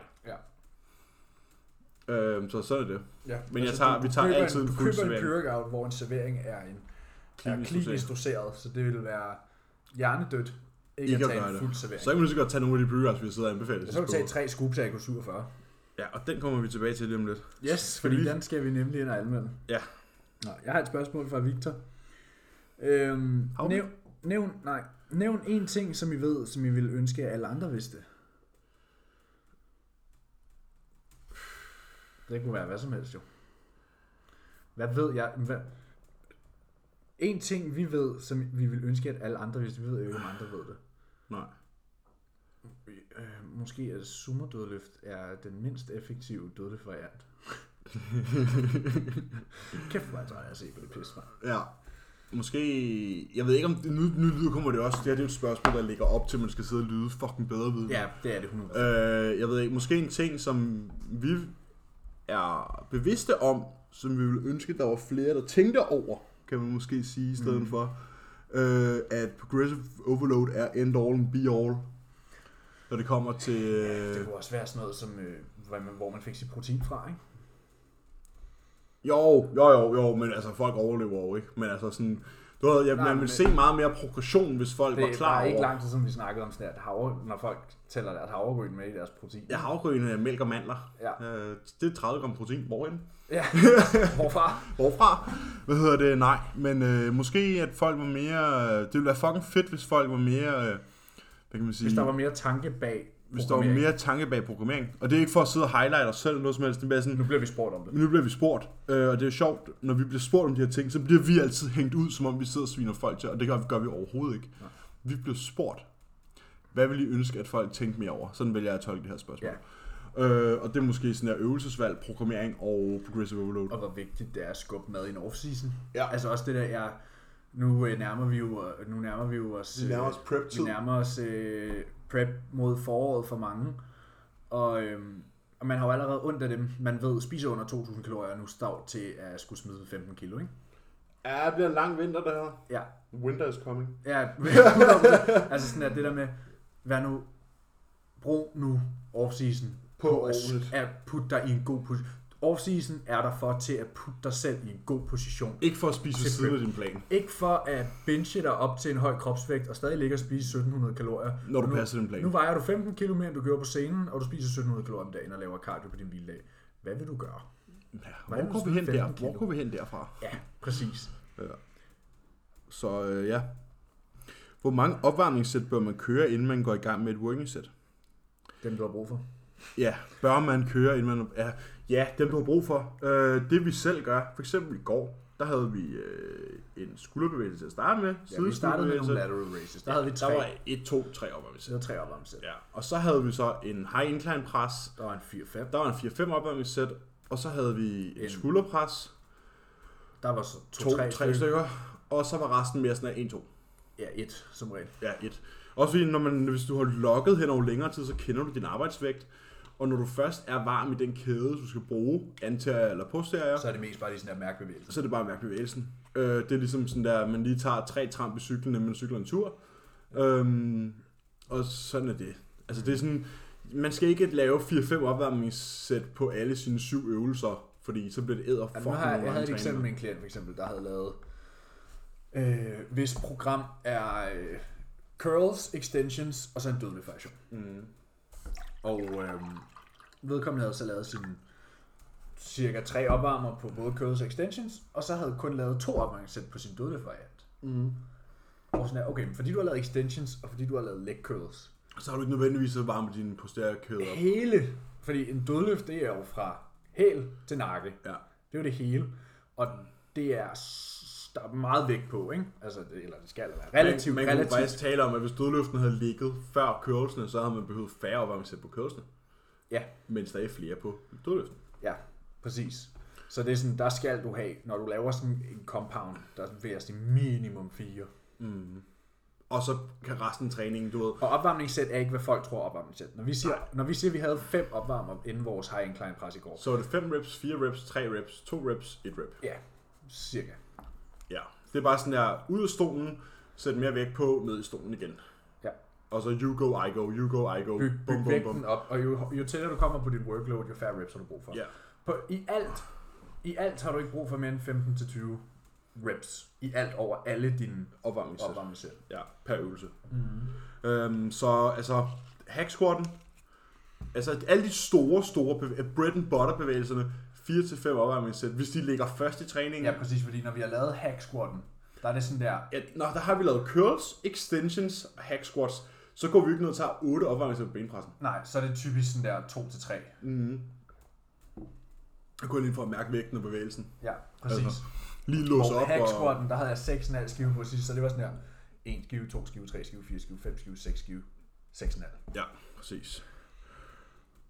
[SPEAKER 2] Øhm, så sådan er det.
[SPEAKER 1] Ja,
[SPEAKER 2] Men jeg tager- vi tager altid en
[SPEAKER 1] en, du
[SPEAKER 2] fuld
[SPEAKER 1] køber en
[SPEAKER 2] servering.
[SPEAKER 1] Purgout, hvor en servering er en er
[SPEAKER 2] Klinisk
[SPEAKER 1] klinisk doseret, så det vil være hjernedødt ikke,
[SPEAKER 2] Ikke
[SPEAKER 1] at
[SPEAKER 2] at
[SPEAKER 1] tage
[SPEAKER 2] gøre
[SPEAKER 1] en
[SPEAKER 2] det.
[SPEAKER 1] fuld servering.
[SPEAKER 2] Så kan man lige så godt tage nogle af de breweries, vi sidder og anbefaler.
[SPEAKER 1] så kan du tage tre scoops af AK47.
[SPEAKER 2] Ja, og den kommer vi tilbage til lige om lidt.
[SPEAKER 1] Yes,
[SPEAKER 2] Fordi-
[SPEAKER 1] fordi den skal vi nemlig ind og anmelde.
[SPEAKER 2] Ja.
[SPEAKER 1] Nå, jeg har et spørgsmål fra Victor. Øhm,
[SPEAKER 2] Har vi?
[SPEAKER 1] nævn, nævn, nej, nævn en ting, som I ved, som I ville ønske, at alle andre vidste. Det kunne være hvad som helst jo. Hvad ved jeg? Hvad? En ting, vi ved, som vi ville ønske, at alle andre vidste. Vi ved jo ikke, om andre ved det.
[SPEAKER 2] Nej.
[SPEAKER 1] Øh, måske at summerdødløft er den mindst effektive dødløftvariant. Kæft, hvor jeg tror, jeg har set det pisse, mand.
[SPEAKER 2] Ja. Måske... Jeg ved ikke, om... Det, nu, nu lyder kommer det også. Det her det er jo et spørgsmål, der ligger op til, at man skal sidde og lyde fucking bedre videre.
[SPEAKER 1] Ja, det er det 100.
[SPEAKER 2] Øh, jeg ved ikke, måske en ting, som vi er bevidste om, som vi ville ønske, der var flere, der tænkte over, kan man måske sige i stedet mm. for, øh, at progressive overload er end all and be all, når det kommer til...
[SPEAKER 1] Det
[SPEAKER 2] Øh,
[SPEAKER 1] kunne også være sådan noget, som, øh, hvor, man, hvor man fik sit protein fra, ikke?
[SPEAKER 2] jo, jo, jo, jo, men altså folk overlever jo ikke, men altså sådan... Du ved, jeg,
[SPEAKER 1] Nej,
[SPEAKER 2] man
[SPEAKER 1] men-
[SPEAKER 2] ville se meget mere progression, hvis folk var
[SPEAKER 1] Det
[SPEAKER 2] klar
[SPEAKER 1] var ikke
[SPEAKER 2] over...
[SPEAKER 1] lang tid siden, vi snakkede om sådan der, at havre, når folk tæller deres havregryn med i deres protein.
[SPEAKER 2] Jeg har afgrønende mælk og mandler.
[SPEAKER 1] Ja.
[SPEAKER 2] Øh, det er 30 gram protein. Hvorhen?
[SPEAKER 1] ja. Hvorfra?
[SPEAKER 2] Hvorfra? Hvad hedder det? Nej, men øh, måske at folk var mere... Øh, det ville være fucking fedt, hvis folk var mere... Øh, hvad kan man sige?
[SPEAKER 1] Hvis der var mere tanke bag
[SPEAKER 2] hvis der var mere tanke bag programmering. Og det er ikke for at sidde og highlight os selv noget som helst. Det er bare sådan,
[SPEAKER 1] Nu bliver vi spurgt om det.
[SPEAKER 2] men nu bliver vi spurgt, øh, og det er sjovt, når vi bliver spurgt om de her ting, så bliver vi altid hængt ud, som om vi sidder og sviner folk til, og det gør, gør vi overhovedet ikke.
[SPEAKER 1] Nej.
[SPEAKER 2] Vi bliver spurgt, hvad vil I ønske, at folk tænkte mere over? Sådan vil jeg at tolke det her spørgsmål. Øh, og det er måske sådan der øvelsesvalg, programmering og progressive overload.
[SPEAKER 1] Og hvor vigtigt det er at skubbe mad i en off-season.
[SPEAKER 2] Ja.
[SPEAKER 1] Altså også det der, jeg, nu øh, nærmer vi jo, nu nærmer vi jo os, øh,
[SPEAKER 2] Vi nærmer os prep-tid.
[SPEAKER 1] vi nærmer os øh, prep mod foråret for mange. Og, øh, og man har jo allerede ondt af dem. Man ved, spiser under 2.000 kalorier nu stavt til at skulle smide 15 kilo, ikke?
[SPEAKER 2] Ja, det bliver en lang vinter, det her.
[SPEAKER 1] Ja,
[SPEAKER 2] Winter is coming.
[SPEAKER 1] ja. 100%. altså sådan at det der med, vær nu, brug nu off-season
[SPEAKER 2] På
[SPEAKER 1] at,
[SPEAKER 2] ordentligt.
[SPEAKER 1] at putte dig i en god position. Off-season er der for til at putte dig selv i en god position.
[SPEAKER 2] Ikke for at spise ved
[SPEAKER 1] Til
[SPEAKER 2] siden
[SPEAKER 1] prep.
[SPEAKER 2] af din plan,
[SPEAKER 1] Ikke for at binge dig op til en høj kropsvægt og stadig ligge og spise 1700 kalorier.
[SPEAKER 2] når du
[SPEAKER 1] nu,
[SPEAKER 2] passer din plan.
[SPEAKER 1] Nu vejer du 15 kilo mere, end du gjorde på scenen, og du spiser 1700 kalorier om dagen og laver cardio på din hviledag. Hvad vil du gøre?
[SPEAKER 2] Ja,
[SPEAKER 1] Hvordan
[SPEAKER 2] hvor går vi
[SPEAKER 1] smider
[SPEAKER 2] hen der?
[SPEAKER 1] 15
[SPEAKER 2] Hvor
[SPEAKER 1] kilo?
[SPEAKER 2] går vi hen derfra?
[SPEAKER 1] Ja, præcis.
[SPEAKER 2] Så øh, ja. Hvor mange opvarmningssæt bør man køre, inden man går i gang med et working set?
[SPEAKER 1] Dem, du har brug for.
[SPEAKER 2] Ja, bør man køre, inden man... Ja, ja dem du har brug for. Øh, det vi selv gør, for eksempel i går, der havde vi øh, en skulderbevægelse til at starte med.
[SPEAKER 1] Ja, vi startede med nogle
[SPEAKER 2] sideskulderbevægelse.
[SPEAKER 1] lateral raises. Der havde vi tre.
[SPEAKER 2] Der var 1, 2, 3
[SPEAKER 1] Der
[SPEAKER 2] opvarmningssæt.
[SPEAKER 1] var tre opvarmningssæt.
[SPEAKER 2] Ja. Og så havde vi så en high incline pres,
[SPEAKER 1] Der var en 4-5.
[SPEAKER 2] der var en 4-5 opvarmningssæt, og så havde vi
[SPEAKER 1] En-
[SPEAKER 2] en skulderpres,
[SPEAKER 1] Der var så
[SPEAKER 2] 2-3
[SPEAKER 1] 2-3
[SPEAKER 2] stykker.
[SPEAKER 1] stykker.
[SPEAKER 2] og så var resten mere sådan af 1-2.
[SPEAKER 1] Ja, et som regel.
[SPEAKER 2] Ja, et. Også fordi, når man, hvis du har logget hen over længere tid, så kender du din arbejdsvægt. Og når du først er varm i den kæde, du skal bruge, anterior eller posterior,
[SPEAKER 1] Så er det mest bare lige sådan der mærkebevægelse.
[SPEAKER 2] så er det bare at mærke bevægelsen. Øh, det er ligesom sådan der, at man lige tager tre tramp i cyklen, når man cykler en tur. Øhm, og sådan er det. Altså det er sådan, man skal ikke lave 4-5 opvarmningssæt på alle sine syv øvelser, fordi så bliver det æder for
[SPEAKER 1] Jamen, nu har jeg, jeg havde et eksempel med en klient, for eksempel, der havde lavet, øh, hvis program er øh, curls, extensions og så en dødelig fashion.
[SPEAKER 2] Mm.
[SPEAKER 1] Og øh, vedkommende havde så lavet sine cirka tre opvarmer på både curls og extensions, og så havde kun lavet to opvarmningssæt på sin dødelig variant.
[SPEAKER 2] Mm.
[SPEAKER 1] Og sådan her, okay, men fordi du har lavet extensions, og fordi du har lavet leg curls,
[SPEAKER 2] Så har du ikke nødvendigvis så varme dine posterior kæder. op.
[SPEAKER 1] hele, fordi en dødløft, det er jo fra hæl til nakke.
[SPEAKER 2] Ja.
[SPEAKER 1] Det er jo det hele. Og det er s- der er meget vægt på, ikke? Altså, det, eller det skal være relativt,
[SPEAKER 2] man,
[SPEAKER 1] man,
[SPEAKER 2] man kunne
[SPEAKER 1] relativt.
[SPEAKER 2] faktisk tale om, at hvis dødløften havde ligget før kørelsene, så havde man behøvet færre opvarmningssæt på kørelsene,
[SPEAKER 1] Ja,
[SPEAKER 2] mens der er flere på dødløften.
[SPEAKER 1] ja, præcis. Så det er sådan, der skal du have, når du laver sådan en compound, der vil jeg sige minimum 4.
[SPEAKER 2] Og så kan resten af træningen, du ved,
[SPEAKER 1] Og opvarmningssæt er ikke, hvad folk tror er opvarmningssæt. Når vi siger, når vi, siger at vi havde fem opvarmer inden vores high incline press i går,
[SPEAKER 2] så er det 5 reps, 4 reps, 3 reps, 2 reps, 1 rep.
[SPEAKER 1] ja, cirka.
[SPEAKER 2] Ja. Det er bare sådan der, ud af stolen, sæt mere vægt på, ned i stolen igen.
[SPEAKER 1] Ja.
[SPEAKER 2] Og så you go, I go, you go, I go,
[SPEAKER 1] Byg, byg vægten op, og jo, jo tættere du kommer på dit workload, jo færre reps har du brug for.
[SPEAKER 2] Ja.
[SPEAKER 1] På, i, alt, I alt har du ikke brug for mere end 15-20 reps. I alt over alle dine
[SPEAKER 2] Opvarmningssæt.
[SPEAKER 1] opvarmningssæt.
[SPEAKER 2] Ja, per øvelse.
[SPEAKER 1] Mhm.
[SPEAKER 2] Mm-hmm. Øhm, så altså, hack squatten, altså alle de store, store bevæ- øh, bread and butter bevægelserne, 4-5 opvarmningssæt, hvis de ligger først i træningen.
[SPEAKER 1] Ja, præcis, fordi når vi har lavet hack squatten, der er det sådan der,
[SPEAKER 2] Ja, nå, der har vi lavet curls, extensions og hack squats. Så går vi ikke ned og tager 8 opvarmningssæt på benpressen.
[SPEAKER 1] nej, så er det typisk sådan der 2-3.
[SPEAKER 2] Jeg går lige for at mærke vægten og bevægelsen.
[SPEAKER 1] Ja, præcis.
[SPEAKER 2] Altså, Lige låse
[SPEAKER 1] Og
[SPEAKER 2] op
[SPEAKER 1] hack
[SPEAKER 2] og...
[SPEAKER 1] squatten, der havde jeg 6,5 skive på sidst, så det var sådan her 1 skive, 2 skive, 3 skive, 4 skive, 5 skive, 6 skive, 6,5.
[SPEAKER 2] Ja, præcis.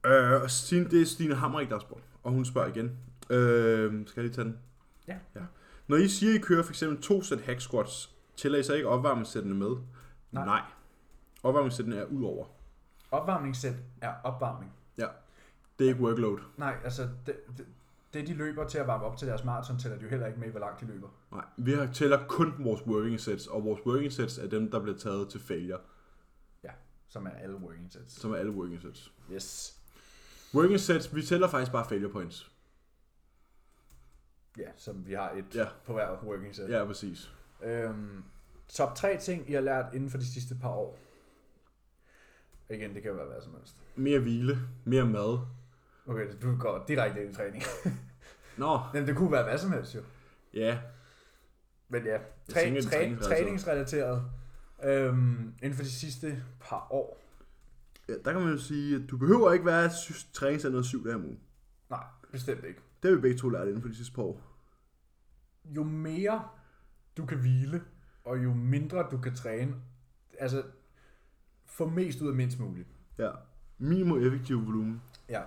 [SPEAKER 2] Øh, og Stine, det er Stine Hammerik, der har spurgt, og hun spørger igen. Øh, skal jeg lige tage den?
[SPEAKER 1] Ja.
[SPEAKER 2] ja. Når I siger, I kører for eksempel to sæt hack squats, tæller I så ikke opvarmningssættene med?
[SPEAKER 1] Nej.
[SPEAKER 2] Nej. Opvarmningssættene er udover.
[SPEAKER 1] Opvarmningssæt er opvarmning.
[SPEAKER 2] Ja. Det er ikke workload.
[SPEAKER 1] Nej, altså det, det, det, de løber til at varme op til deres maraton, tæller de jo heller ikke med, i, hvor langt de løber.
[SPEAKER 2] Nej, vi har- tæller kun vores working sets, og vores working sets er dem, der bliver taget til failure,
[SPEAKER 1] Ja, som er alle working sets.
[SPEAKER 2] som er alle working sets.
[SPEAKER 1] Yes.
[SPEAKER 2] Working sets, vi tæller faktisk bare failure points.
[SPEAKER 1] Ja, som vi har et
[SPEAKER 2] Ja.
[SPEAKER 1] ja. på hver working set.
[SPEAKER 2] Ja, præcis.
[SPEAKER 1] Øhm, top 3 ting, I har lært inden for de sidste par år. Igen, det kan jo være hvad som helst.
[SPEAKER 2] Mere hvile, mere mad.
[SPEAKER 1] Okay, du går direkte ind i træning.
[SPEAKER 2] Nå,
[SPEAKER 1] Men det kunne være hvad som helst jo.
[SPEAKER 2] ja,
[SPEAKER 1] Men ja, træ,
[SPEAKER 2] Jeg tænker, det er
[SPEAKER 1] træ,
[SPEAKER 2] træningsrelateret.
[SPEAKER 1] træningsrelateret øhm, inden for de sidste par år.
[SPEAKER 2] Ja, der kan man jo sige, at du behøver ikke være sy- træningscenteret syv dage om ugen.
[SPEAKER 1] Nej, bestemt ikke.
[SPEAKER 2] Det har vi begge to lært inden for de sidste par år.
[SPEAKER 1] Jo mere du kan hvile, og jo mindre du kan træne, altså få mest ud af mindst muligt.
[SPEAKER 2] Ja. Minimum effektiv volumen.
[SPEAKER 1] Ja.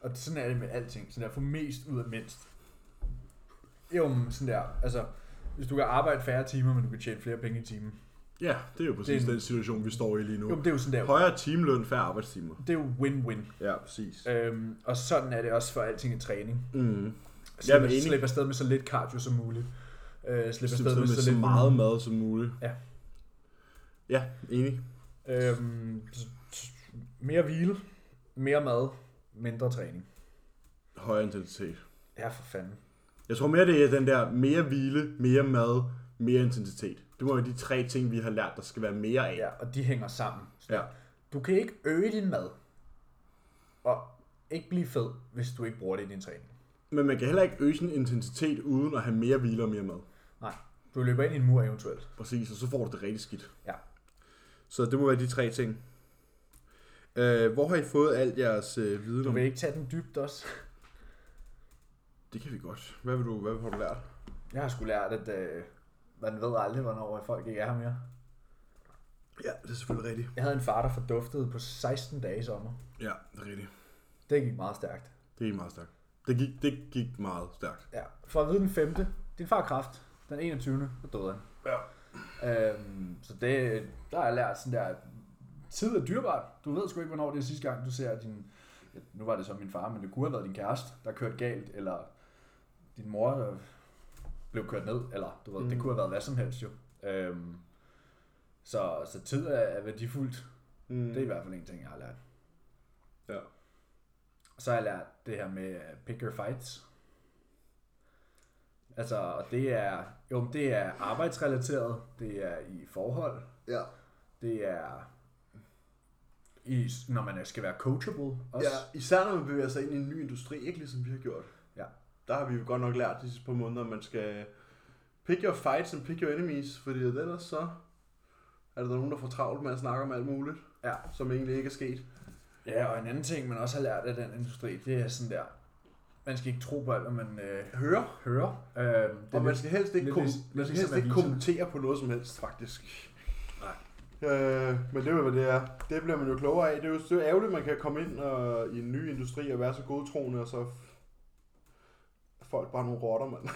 [SPEAKER 1] Og sådan er det med alting. Sådan der, få mest ud af mindst. Jo, men sådan der. Altså, hvis du kan arbejde færre timer, men du kan tjene flere penge i timen.
[SPEAKER 2] Ja, det er jo præcis
[SPEAKER 1] Det er en-
[SPEAKER 2] den situation, vi står i lige nu.
[SPEAKER 1] Jo, men det er jo sådan der.
[SPEAKER 2] Højere timeløn, færre arbejdstimer.
[SPEAKER 1] Det er jo win-win.
[SPEAKER 2] Ja, præcis.
[SPEAKER 1] Øhm, og sådan er det også for alting i træning.
[SPEAKER 2] Mm.
[SPEAKER 1] Slip, Jamen,
[SPEAKER 2] enig.
[SPEAKER 1] slip afsted med så lidt cardio som muligt. Øh, slip
[SPEAKER 2] Det er
[SPEAKER 1] afsted med,
[SPEAKER 2] med
[SPEAKER 1] så
[SPEAKER 2] så
[SPEAKER 1] lidt
[SPEAKER 2] meget mad som muligt.
[SPEAKER 1] Ja.
[SPEAKER 2] Ja, enig.
[SPEAKER 1] Øhm, s- s- mere hvile, mere mad, mindre træning.
[SPEAKER 2] Højere intensitet.
[SPEAKER 1] Ja, for fanden.
[SPEAKER 2] Jeg tror mere, det er den der mere hvile, mere mad, mere intensitet. Det må være de tre ting, vi har lært, der skal være mere af.
[SPEAKER 1] Ja, og de hænger sammen.
[SPEAKER 2] Ja.
[SPEAKER 1] Du kan ikke øge din mad, og ikke blive fed, hvis du ikke bruger det i din træning.
[SPEAKER 2] Men man kan heller ikke øge sin intensitet, uden at have mere hvile og mere mad.
[SPEAKER 1] Nej, du løber ind i en mur eventuelt.
[SPEAKER 2] Præcis, og så får du det rigtig skidt.
[SPEAKER 1] Ja.
[SPEAKER 2] Så det må være de tre ting. Øh, hvor har I fået alt jeres øh, viden
[SPEAKER 1] Du
[SPEAKER 2] om?
[SPEAKER 1] vil ikke tage den dybt også.
[SPEAKER 2] Det kan vi godt. Hvad, vil du, hvad har du lært?
[SPEAKER 1] Jeg har sgu lært, at øh, man ved aldrig, hvornår folk ikke er her mere.
[SPEAKER 2] Ja, det er selvfølgelig rigtigt.
[SPEAKER 1] Jeg havde en far, der forduftede på 16 dage i sommer.
[SPEAKER 2] Ja, det er rigtigt.
[SPEAKER 1] Det gik meget stærkt.
[SPEAKER 2] Det gik meget stærkt. Det gik, det gik meget stærkt.
[SPEAKER 1] Ja. For at vide den 5. Din far har kræft. Den 21. så døde han.
[SPEAKER 2] Ja.
[SPEAKER 1] Øhm, så det, der har jeg lært sådan der, at tid er dyrebart. Du ved sgu ikke, hvornår det er sidste gang, du ser din... ja, Nu var det så min far, men det kunne have været din kæreste, der kørte galt, eller din mor der blev kørt ned, eller du ved, mm. det
[SPEAKER 2] Mm.
[SPEAKER 1] kunne have været hvad som helst jo. Øhm, så, så tid er, er værdifuldt.
[SPEAKER 2] Mm.
[SPEAKER 1] Det er i hvert fald en ting, jeg har lært.
[SPEAKER 2] Ja.
[SPEAKER 1] Og så har jeg lært det her med øh, pick your fights. Altså, og det er, jo, men det er arbejdsrelateret, det er i forhold,
[SPEAKER 2] ja.
[SPEAKER 1] det er, i, når man skal være coachable også.
[SPEAKER 2] ja. Især når man bevæger sig ind i en ny industri, ikke ligesom vi har gjort.
[SPEAKER 1] Ja.
[SPEAKER 2] Der har vi jo godt nok lært de sidste par måneder, at man skal pick your fights and pick your enemies, fordi ellers så er der nogen, der får travlt med at snakke om alt muligt,
[SPEAKER 1] Ja.
[SPEAKER 2] som egentlig ikke er sket.
[SPEAKER 1] ja, og en anden ting, man også har lært af den industri, det er sådan der, man skal ikke tro på alt, hvad man øh,
[SPEAKER 2] Hører
[SPEAKER 1] hører. Øh, det er
[SPEAKER 2] Og man
[SPEAKER 1] lidt-
[SPEAKER 2] skal helst ikke,
[SPEAKER 1] lidt
[SPEAKER 2] kom-
[SPEAKER 1] ligesom-
[SPEAKER 2] man
[SPEAKER 1] lidt
[SPEAKER 2] skal
[SPEAKER 1] ligesom
[SPEAKER 2] helst ikke
[SPEAKER 1] aviserne.
[SPEAKER 2] kommentere på noget som helst, faktisk.
[SPEAKER 1] Nej.
[SPEAKER 2] Øh, men det er jo, hvad det er. Det bliver man jo klogere af. Det er jo, det er jo ærgerligt, at man kan komme ind og, i en ny industri og være så godtroende, og så er folk bare nogle rotter, mand.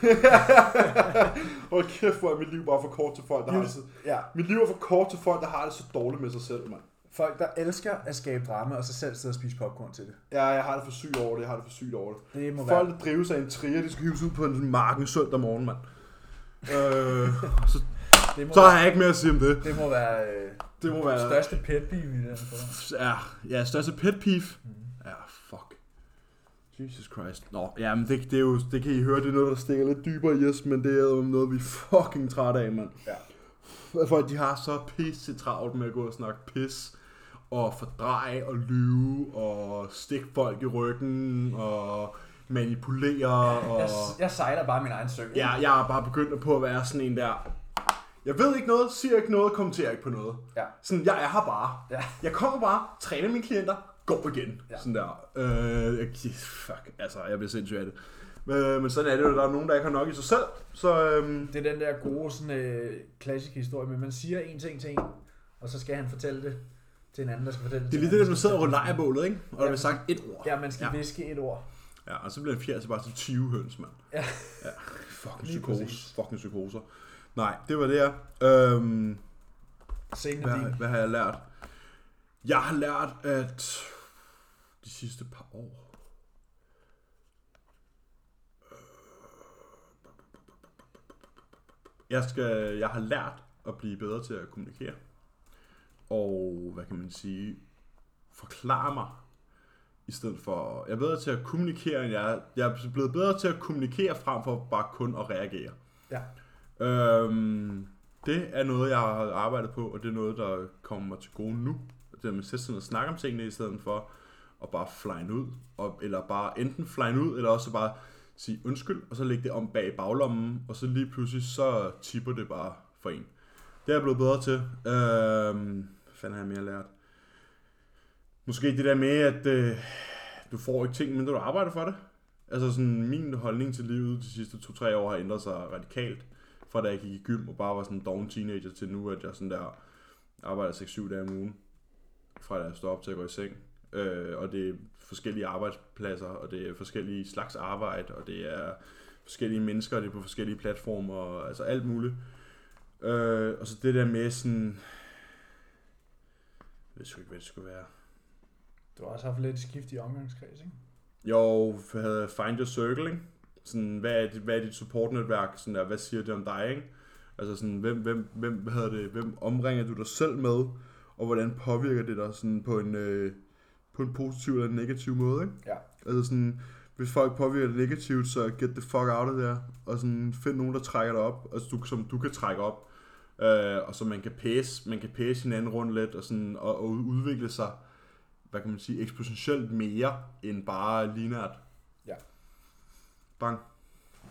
[SPEAKER 2] Hold kæft, hvor er mit liv bare for kort til folk, der har det så...
[SPEAKER 1] ja,
[SPEAKER 2] Mit liv er for kort til folk, der har det så dårligt med sig selv, mand.
[SPEAKER 1] folk, der elsker at skabe drama, og så selv sidder og spise popcorn til det.
[SPEAKER 2] Ja, jeg har det for sygt over det, jeg har det for sygt over det.
[SPEAKER 1] Det må
[SPEAKER 2] Folk,
[SPEAKER 1] være.
[SPEAKER 2] der drives af en trier, de skal hives ud på en marken søndag morgen, mand. øh, så,
[SPEAKER 1] Det må,
[SPEAKER 2] så
[SPEAKER 1] være,
[SPEAKER 2] har jeg ikke mere at sige om det.
[SPEAKER 1] det må være øh,
[SPEAKER 2] Det må være...
[SPEAKER 1] største pet peeve i det her program.
[SPEAKER 2] Ja, ja, største pet peeve.
[SPEAKER 1] Mhm.
[SPEAKER 2] Ja, fuck. Jesus Christ. Nå, ja, men det, det, er jo, det kan I høre, det er noget, der stikker lidt dybere i os, men det er jo noget, vi er fucking trætte af, mand.
[SPEAKER 1] Ja.
[SPEAKER 2] At Folk, de har så pisse travlt med at gå og snakke pis, og fordreje og lyve, og stikke folk i ryggen, og manipulere, og...
[SPEAKER 1] Jeg, jeg sejler bare min egen sø.
[SPEAKER 2] Ja, jeg er bare begyndt på at være sådan en der... Jeg ved ikke noget, siger ikke noget, kommenterer ikke på noget.
[SPEAKER 1] Ja.
[SPEAKER 2] Sådan, jeg er her bare.
[SPEAKER 1] Ja.
[SPEAKER 2] Jeg kommer bare, træner mine klienter, går igen.
[SPEAKER 1] Ja.
[SPEAKER 2] Ja. Sådan der. Øh, jeg- fuck, altså, jeg bliver sindssyg af det. Øh, Men, men sådan er det jo, der er nogen, der ikke har nok i sig selv. Så øhm,
[SPEAKER 1] Det er den der gode, sådan, øh, klassiske historie, men man siger en ting til en, og så skal han fortælle det til en anden, der skal fortælle det
[SPEAKER 2] det
[SPEAKER 1] til
[SPEAKER 2] er lige
[SPEAKER 1] en
[SPEAKER 2] det, at
[SPEAKER 1] anden.
[SPEAKER 2] man sidder og ruller af bålet, ikke? Og der
[SPEAKER 1] Ja.
[SPEAKER 2] bliver sagt et ord.
[SPEAKER 1] Ja, man skal
[SPEAKER 2] Ja.
[SPEAKER 1] ja. viske et ord.
[SPEAKER 2] Ja, og så bliver en fjerde bare til 20 høns, mand.
[SPEAKER 1] Ja.
[SPEAKER 2] ja. Fucking
[SPEAKER 1] Lige
[SPEAKER 2] psykose.
[SPEAKER 1] præcis.
[SPEAKER 2] Fucking psykoser. Nej, det var det her. Øhm,
[SPEAKER 1] Scenen er
[SPEAKER 2] Hvad,
[SPEAKER 1] din.
[SPEAKER 2] hvad har jeg lært? Jeg har lært, at de sidste par år... Jeg, skal, jeg har lært at blive bedre til at kommunikere. Og hvad kan man sige? Forklare mig. I stedet for... Jeg er bedre til at kommunikere, end jeg er. Jeg er blevet bedre til at kommunikere frem for bare kun at reagere.
[SPEAKER 1] Ja.
[SPEAKER 2] Øhm, det er noget, jeg har arbejdet på, og det er noget, der kommer mig til gode nu. Det er med at sætte sig ned og snakke om tingene, i stedet for at bare flyne ud. Og, eller bare enten flyne ud, eller også bare sige undskyld, og så lægge det om bag baglommen, og så lige pludselig, så tipper det bare for en. Det er jeg blevet bedre til. Øhm, hvad fanden har jeg mere lært? Måske det der med, at øh, du får ikke ting, men du arbejder for det. Altså sådan, min holdning til livet de sidste 2-3 år har ændret sig radikalt fra da jeg gik i gym og bare var sådan en doven teenager til nu, at jeg sådan der arbejder 6-7 dage om ugen, fra da jeg står op til at gå i seng. Øh, og det er forskellige arbejdspladser, og det er forskellige slags arbejde, og det er forskellige mennesker, og det er på forskellige platformer, og altså alt muligt. Øh, og så det der med sådan... Jeg ved sgu ikke, hvad det skulle være.
[SPEAKER 1] Du har også haft lidt skift i omgangskreds, ikke?
[SPEAKER 2] Jo, jeg havde Find Your Circle, ikke? Sådan, hvad er dit, hvad er dit supportnetværk? Sådan der, hvad siger det om dig, ikke? Altså sådan, hvem, hvem, hvem, hvad hedder det, hvem omringer du dig selv med? Og hvordan påvirker det dig sådan på en, øh, på en positiv eller en negativ måde, ikke?
[SPEAKER 1] Ja.
[SPEAKER 2] Altså sådan, hvis folk påvirker det negativt, så get the fuck out of there. Og sådan, find nogen, der trækker dig op, altså du, som du kan trække op. Øh, og så man kan pace, man kan pace hinanden rundt lidt, og, sådan, og, og udvikle sig, hvad kan man sige, eksponentielt mere, end bare linært.
[SPEAKER 1] Ja.
[SPEAKER 2] Bang.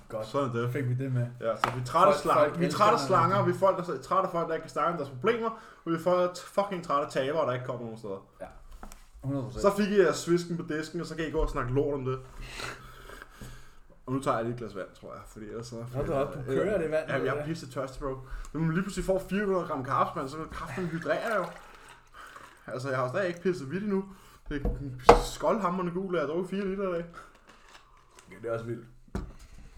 [SPEAKER 1] Godt.
[SPEAKER 2] Sådan er det.
[SPEAKER 1] Så fik vi det med.
[SPEAKER 2] Ja, så vi er trætte af
[SPEAKER 1] Folk-
[SPEAKER 2] slanger,
[SPEAKER 1] folk
[SPEAKER 2] vi er
[SPEAKER 1] elsker
[SPEAKER 2] trætte af
[SPEAKER 1] mig.
[SPEAKER 2] slanger, vi er folk, der er trætte af folk, der ikke kan snakke om deres problemer, og vi er folk, fucking trætte af tabere, der ikke kommer nogen steder.
[SPEAKER 1] 100%.
[SPEAKER 2] Så fik I jeres svisken på disken, og så kan I gå og snakke lort om det. Og nu tager jeg lige et glas vand, tror jeg, fordi ellers så...
[SPEAKER 1] Hold da op, du kører det vand.
[SPEAKER 2] Ja, jeg er pisse tørstig, bro. Men man lige pludselig får 400 gram carbs, man, så kan kraften hydrere jo. Altså, jeg har jo stadig ikke pisset vidt endnu. Det er skoldhammerende gul, og jeg har drukket 4 liter i dag.
[SPEAKER 1] Ja, det er også vildt.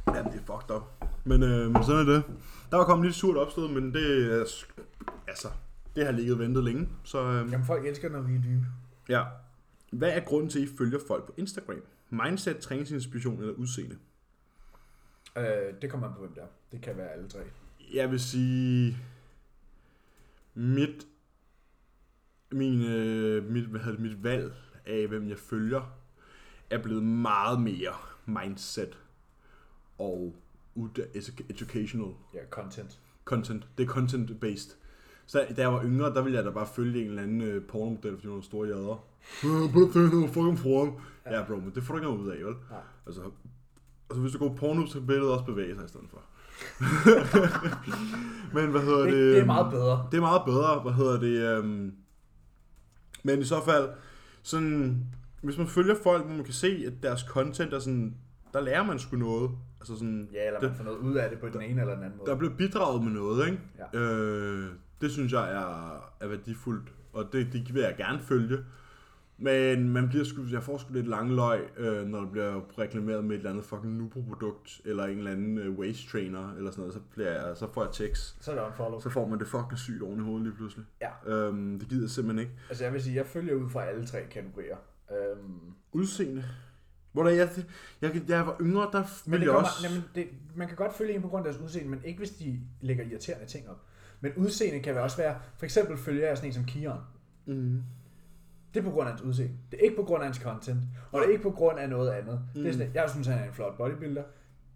[SPEAKER 2] Jamen, det er fucked up. Men, øh, men sådan er det. Der var kommet lidt surt opstød, men det er... s- Altså, det har ligget ventet længe. Så øh,
[SPEAKER 1] Jamen, folk elsker, når vi er dybe.
[SPEAKER 2] ja. Hvad er grunden til, at I følger folk på Instagram? Mindset, træningsinspiration eller udseende?
[SPEAKER 1] Øh, det kommer an på, hvem der er. Det kan være alle tre.
[SPEAKER 2] Jeg vil sige... Mit... Min, øh, mit, hvad hedder det, mit valg af, hvem jeg følger, er blevet meget mere mindset og ud- edu- educational.
[SPEAKER 1] Ja, content.
[SPEAKER 2] content. Det er content-based. Så da jeg var yngre, der ville jeg da bare følge en eller anden øh, pornomodel, fordi hun var store jader. Øh, Bare find noget fucking porno. Ja, bro, men det får du ikke noget ud af, vel?
[SPEAKER 1] Nej.
[SPEAKER 2] Altså, altså, hvis du går på porno, så kan billedet også bevæge sig i stedet for. men hvad hedder
[SPEAKER 1] Det,
[SPEAKER 2] det?
[SPEAKER 1] det er
[SPEAKER 2] øhm,
[SPEAKER 1] meget bedre.
[SPEAKER 2] det er meget bedre, hvad hedder det. Øhm, men i så fald, sådan, hvis man følger folk, hvor man kan se, at deres content er sådan, der lærer man sgu noget. Altså sådan,
[SPEAKER 1] Ja, eller
[SPEAKER 2] det-
[SPEAKER 1] man får noget ud af det på den ene eller den anden måde.
[SPEAKER 2] der blev bidraget med noget, ikke?
[SPEAKER 1] Ja.
[SPEAKER 2] Øh, det synes jeg er, er værdifuldt, og det, det vil jeg gerne følge. Men man bliver sgu, jeg får sgu lidt lange løg, øh, når der bliver reklameret med et eller andet fucking Nubro-produkt, eller en eller anden øh, waist trainer, eller sådan noget, så, bliver jeg, så får jeg tekst.
[SPEAKER 1] Så er der unfollow.
[SPEAKER 2] Så får man det fucking sygt oven i hovedet lige pludselig.
[SPEAKER 1] Ja.
[SPEAKER 2] Øhm, det gider jeg simpelthen ikke.
[SPEAKER 1] Altså, jeg vil sige, jeg følger ud fra alle tre kategorier. Øhm,
[SPEAKER 2] Udseende. Hvor der, jeg, jeg, jeg, jeg var yngre, der
[SPEAKER 1] Men
[SPEAKER 2] ville
[SPEAKER 1] det
[SPEAKER 2] jeg
[SPEAKER 1] kommer,
[SPEAKER 2] også...
[SPEAKER 1] jamen, det, man kan godt følge en på grund af deres udseende, men ikke hvis de lægger irriterende ting op. Men udseende kan også være, for eksempel følger jeg sådan en som Kion.
[SPEAKER 2] mm.
[SPEAKER 1] Det er på grund af hans udseende. Det er ikke på grund af hans content, og det er ikke på grund af noget andet. Mm. Det er sådan, jeg synes, han er en flot bodybuilder.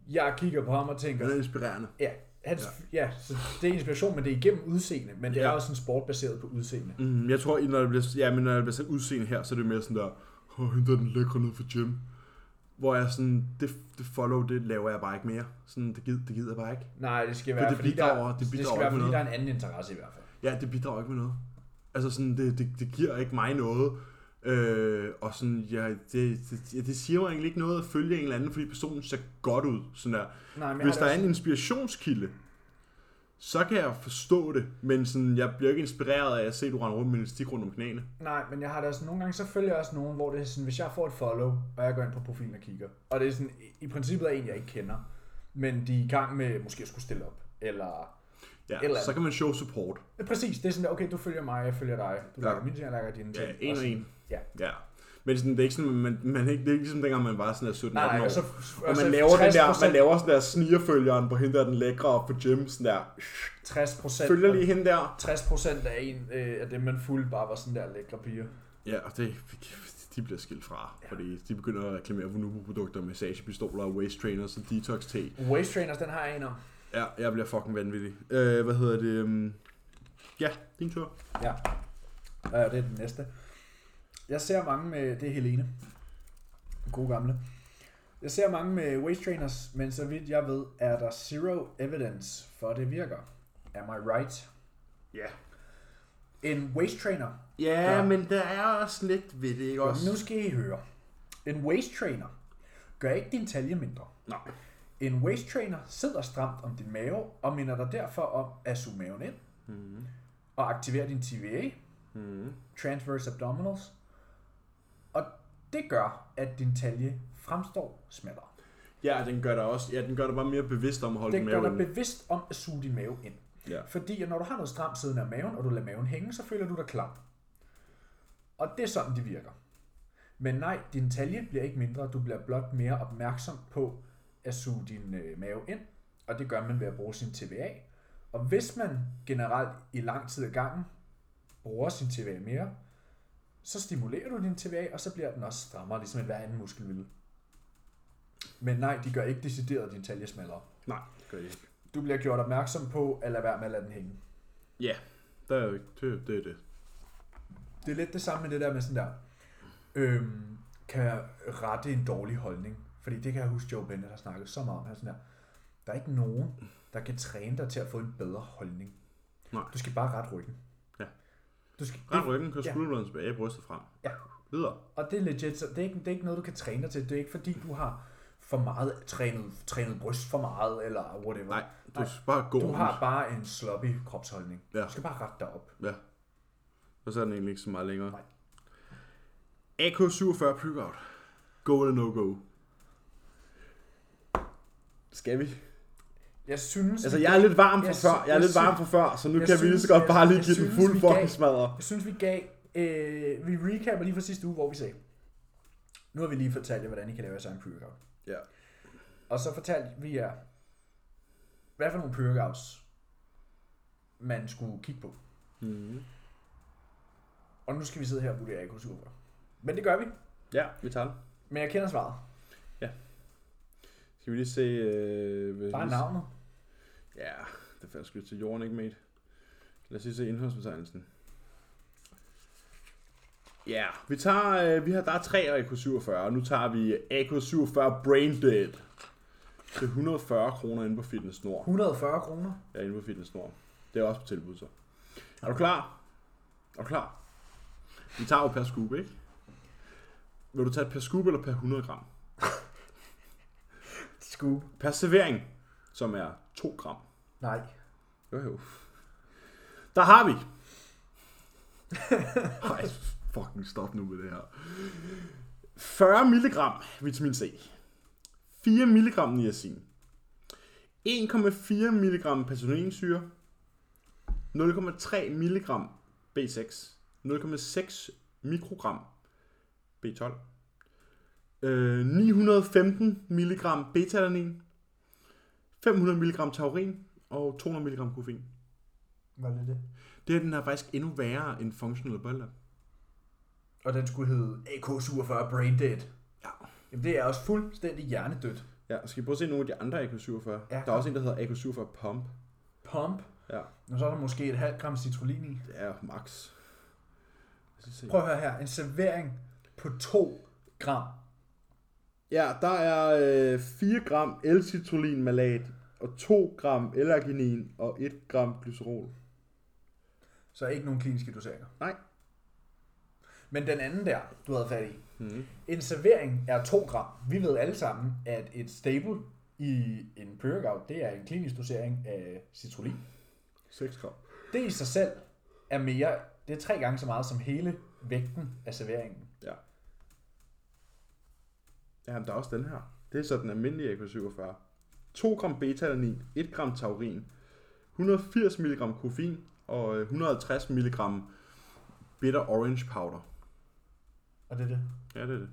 [SPEAKER 1] Jeg kigger på ham og tænker,
[SPEAKER 2] Det er inspirerende.
[SPEAKER 1] ja, hans, ja. ja så det er inspiration, men det er igennem udseende. Men det er
[SPEAKER 2] Ja.
[SPEAKER 1] også en sport baseret på udseende.
[SPEAKER 2] Mm, jeg tror, at når det bliver, ja, men når det bliver sat udseende her, så er det mere sådan der, åh, henter den lækre ned for gym. Hvor jeg sådan, det, det follow, det laver jeg bare ikke mere. Sådan, det, gider, det gider jeg bare ikke.
[SPEAKER 1] Nej, det skal
[SPEAKER 2] For
[SPEAKER 1] være,
[SPEAKER 2] det
[SPEAKER 1] fordi, der,
[SPEAKER 2] bidrager- det
[SPEAKER 1] det
[SPEAKER 2] bidrager
[SPEAKER 1] skal være,
[SPEAKER 2] ikke med
[SPEAKER 1] fordi der er en anden interesse i hvert fald.
[SPEAKER 2] Ja, det bidrager ikke med noget. Altså sådan, det, det, det giver ikke mig noget. Øh, og sådan, ja, det, det, ja, det siger mig egentlig ikke noget at følge en eller anden, fordi personen ser godt ud. Sådan der.
[SPEAKER 1] Nej, men jeg
[SPEAKER 2] Hvis
[SPEAKER 1] har det
[SPEAKER 2] der er
[SPEAKER 1] også-
[SPEAKER 2] en inspirationskilde, så kan jeg forstå det, men sådan, jeg bliver ikke inspireret af at se, at du render rundt med en elastik rundt om knæene.
[SPEAKER 1] Nej, men jeg har da også nogle gange, så følger jeg også nogen, hvor det er sådan, hvis jeg får et follow, og jeg går ind på profilen og kigger, og det er sådan, i, i princippet er en, jeg ikke kender, men de er i gang med, måske at skulle stille op, eller...
[SPEAKER 2] Ja,
[SPEAKER 1] Eller-
[SPEAKER 2] så kan man show support.
[SPEAKER 1] Ja, Præcis, det er sådan, okay, du følger mig, jeg følger dig, du
[SPEAKER 2] Ja.
[SPEAKER 1] lager mine ting, jeg lager dine ting.
[SPEAKER 2] Ja, en og
[SPEAKER 1] sådan-
[SPEAKER 2] en.
[SPEAKER 1] Ja.
[SPEAKER 2] Ja. Men sådan, det er ikke sådan, man, man er ikke, det er ikke ligesom dengang, man var sådan der 17
[SPEAKER 1] Nej,
[SPEAKER 2] 18 år.
[SPEAKER 1] og så... altså,
[SPEAKER 2] og
[SPEAKER 1] så
[SPEAKER 2] man laver, den der,
[SPEAKER 1] 60%,
[SPEAKER 2] man laver sådan der snigerfølgeren på hende der, den lækre op på gym, sådan der.
[SPEAKER 1] 60 procent...
[SPEAKER 2] Følger lige hende der.
[SPEAKER 1] 60 procent af en øh, af dem, man fulgte, bare var sådan der lækre piger.
[SPEAKER 2] Ja, og det, de bliver skilt fra, ja. fordi de begynder at reklamere for Nubo-produkter, massagepistoler, waist trainers og detox te.
[SPEAKER 1] Waist trainers, den har jeg en om.
[SPEAKER 2] Ja, jeg bliver fucking vanvittig. Øh, hvad hedder det? øhm, Ja, din tur.
[SPEAKER 1] Ja. Ja, det er den næste. Jeg ser mange med, det er Helene. Den gode gamle. Jeg ser mange med waist trainers, men så vidt jeg ved, er der zero evidence for, at det virker. Am I right?
[SPEAKER 2] Ja.
[SPEAKER 1] En waist trainer.
[SPEAKER 2] Ja,
[SPEAKER 1] Ja.
[SPEAKER 2] men der er også lidt ved det, ikke
[SPEAKER 1] Nu skal I høre. En waist trainer gør ikke din talje mindre.
[SPEAKER 2] Nej.
[SPEAKER 1] En waist trainer sidder stramt om din mave og minder dig derfor om at suge maven ind og aktivere din TVA,
[SPEAKER 2] Mm.
[SPEAKER 1] transverse abdominals Det gør, at din talje fremstår smallere.
[SPEAKER 2] Ja, den gør dig også, ja, den gør dig bare mere bevidst om at holde
[SPEAKER 1] Den gør dig
[SPEAKER 2] maven.
[SPEAKER 1] bevidst om at suge din mave ind.
[SPEAKER 2] Ja.
[SPEAKER 1] Fordi at når du har noget stramt siden af maven, og du lader maven hænge, så føler du dig klam. Og det er sådan, de virker. Men nej, din talje bliver ikke mindre, du bliver blot mere opmærksom på at suge din øh, mave ind, og det gør man ved at bruge sin TVA. Og hvis man generelt i lang tid ad gangen bruger sin TVA mere, så stimulerer du din TVA, og så bliver den også strammere, ligesom en hver anden muskel ville. Men nej, de gør ikke decideret din talje smallere.
[SPEAKER 2] Nej, det gør det ikke.
[SPEAKER 1] Du bliver gjort opmærksom på at lade være med at lade den hænge.
[SPEAKER 2] Ja, der er jo ikke, det, det er det.
[SPEAKER 1] Det er lidt det samme med det der med sådan der, øhm, kan jeg rette en dårlig holdning? Fordi det kan jeg huske, Joe Bennett har snakket så meget om. Han er sådan der, der er ikke nogen, der kan træne dig til at få en bedre holdning.
[SPEAKER 2] Nej.
[SPEAKER 1] Du skal bare rette ryggen.
[SPEAKER 2] Ja.
[SPEAKER 1] Du skal,
[SPEAKER 2] Ret ryggen, kør
[SPEAKER 1] Ja.
[SPEAKER 2] skulderen tilbage, brystet frem.
[SPEAKER 1] ja.
[SPEAKER 2] Videre.
[SPEAKER 1] Og det er legit, så det er, ikke, det er ikke noget, du kan træne dig til. Det er ikke fordi, du har for meget trænet, trænet bryst for meget, eller whatever.
[SPEAKER 2] Nej, du skal bare gå.
[SPEAKER 1] Du har bare en sloppy kropsholdning.
[SPEAKER 2] Ja.
[SPEAKER 1] Du skal bare rette dig op.
[SPEAKER 2] Ja. Og så er den egentlig ikke så meget længere.
[SPEAKER 1] Nej.
[SPEAKER 2] AK47 Pygout. Go eller no go? Skal vi?
[SPEAKER 1] Jeg synes,
[SPEAKER 2] Altså,
[SPEAKER 1] vi
[SPEAKER 2] jeg er lidt varm fra
[SPEAKER 1] Jeg
[SPEAKER 2] før.
[SPEAKER 1] sy-
[SPEAKER 2] Jeg er
[SPEAKER 1] jeg
[SPEAKER 2] lidt varm
[SPEAKER 1] sy-
[SPEAKER 2] fra før, så nu
[SPEAKER 1] jeg
[SPEAKER 2] kan vi lige
[SPEAKER 1] synes,
[SPEAKER 2] så godt
[SPEAKER 1] jeg-
[SPEAKER 2] bare lige
[SPEAKER 1] jeg
[SPEAKER 2] give den
[SPEAKER 1] synes,
[SPEAKER 2] fuld
[SPEAKER 1] vi
[SPEAKER 2] fucking
[SPEAKER 1] gav-
[SPEAKER 2] smadre.
[SPEAKER 1] Jeg synes, vi gav... Øh, vi recapper lige fra sidste uge, hvor vi sagde... Nu har vi lige fortalt jer, hvordan I kan lave jeres egen pre-workout.
[SPEAKER 2] Ja.
[SPEAKER 1] Og så fortalte vi jer, hvad for nogle pre-workouts, man skulle kigge på.
[SPEAKER 2] Mm-hmm.
[SPEAKER 1] Og nu skal vi sidde her og vurdere AK Super. Men det gør vi.
[SPEAKER 2] Ja, vi tager den.
[SPEAKER 1] Men jeg kender svaret.
[SPEAKER 2] Skal vi lige se... Øh, hvis
[SPEAKER 1] Bare
[SPEAKER 2] vi-
[SPEAKER 1] navnet.
[SPEAKER 2] Ja, det fandt sgu til jorden, ikke mate? Lad os lige se indholdsbetegnelsen. Ja, yeah. vi tager, øh, vi har, der er tre AK47, og nu tager vi AK47 Brain Dead. Det er 140 kroner inde på Fitness Nord.
[SPEAKER 1] 140 kroner.
[SPEAKER 2] Ja, inde på Fitness Nord. Det er også på tilbud, så. Er du klar? Er du klar? Vi tager jo per scoop, ikke? Vil du tage et per scoop eller per 100 gram?
[SPEAKER 1] Scoop.
[SPEAKER 2] Per servering, som er 2 gram.
[SPEAKER 1] Nej.
[SPEAKER 2] Jo, jo. Der har vi. Ej, fucking stop nu med det her. 40 mg vitamin C. 4 mg niacin. 1,4 mg patoninsyre. 0,3 mg B6. 0,6 mikrogram B12. Øh, 915 mg beta-alanin. 500 mg taurin og 200 mg koffein.
[SPEAKER 1] Var det det?
[SPEAKER 2] Det her, den er faktisk endnu værre end Functional Bolla.
[SPEAKER 1] Og den skulle hedde AK47 Brain Dead.
[SPEAKER 2] Ja.
[SPEAKER 1] Jamen det er også fuldstændig hjernedødt.
[SPEAKER 2] Ja, og skal vi prøve at se nogle af de andre AK47? Ja. Der er
[SPEAKER 1] kom.
[SPEAKER 2] også en, der hedder AK47 Pump.
[SPEAKER 1] Pump.
[SPEAKER 2] Ja,
[SPEAKER 1] Og så er der måske et halvt gram citrullin i.
[SPEAKER 2] det er max. Lad os lige se.
[SPEAKER 1] Prøv at høre her. En servering på 2 gram.
[SPEAKER 2] Ja, der er øh, 4 gram L-citrullin malat og 2 gram L-arginin og 1 gram glycerol.
[SPEAKER 1] Så ikke nogen kliniske doseringer.
[SPEAKER 2] Nej.
[SPEAKER 1] Men den anden der, du havde fat i.
[SPEAKER 2] Mm.
[SPEAKER 1] En servering er 2 gram. Vi ved alle sammen, at et staple i en pre-workout, det er en klinisk dosering af citrullin.
[SPEAKER 2] 6 gram.
[SPEAKER 1] Det i sig selv er mere, det er tre gange så meget som hele vægten af serveringen.
[SPEAKER 2] Ja. Jamen, der er også den her. Det er så den almindelige AK47. 2 gram beta-alanin, 1 gram taurin, 180 mg koffein og øh, 150 mg bitter orange powder.
[SPEAKER 1] Og det er det.
[SPEAKER 2] Ja, det er det.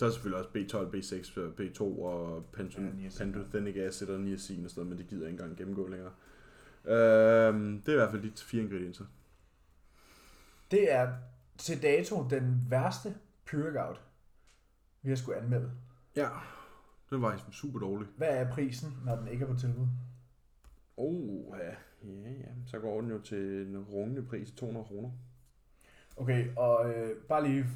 [SPEAKER 2] Der er selvfølgelig også B12, B6, B2 øh, og
[SPEAKER 1] Ja,
[SPEAKER 2] pantothenic
[SPEAKER 1] niacin.
[SPEAKER 2] pantothenic acid og niacin og sådan noget, men det gider jeg ikke engang gennemgå længere. Øhm, det er i hvert fald de fire ingredienser.
[SPEAKER 1] Det er til dato den værste pre-workout, vi har skulle anmelde.
[SPEAKER 2] Ja. Den var super dårlig.
[SPEAKER 1] Hvad er prisen, når den ikke er på tilbud?
[SPEAKER 2] Oh, ja. ja, ja. Så går den jo til en rungende pris 200 kroner.
[SPEAKER 1] Okay, og øh, bare lige,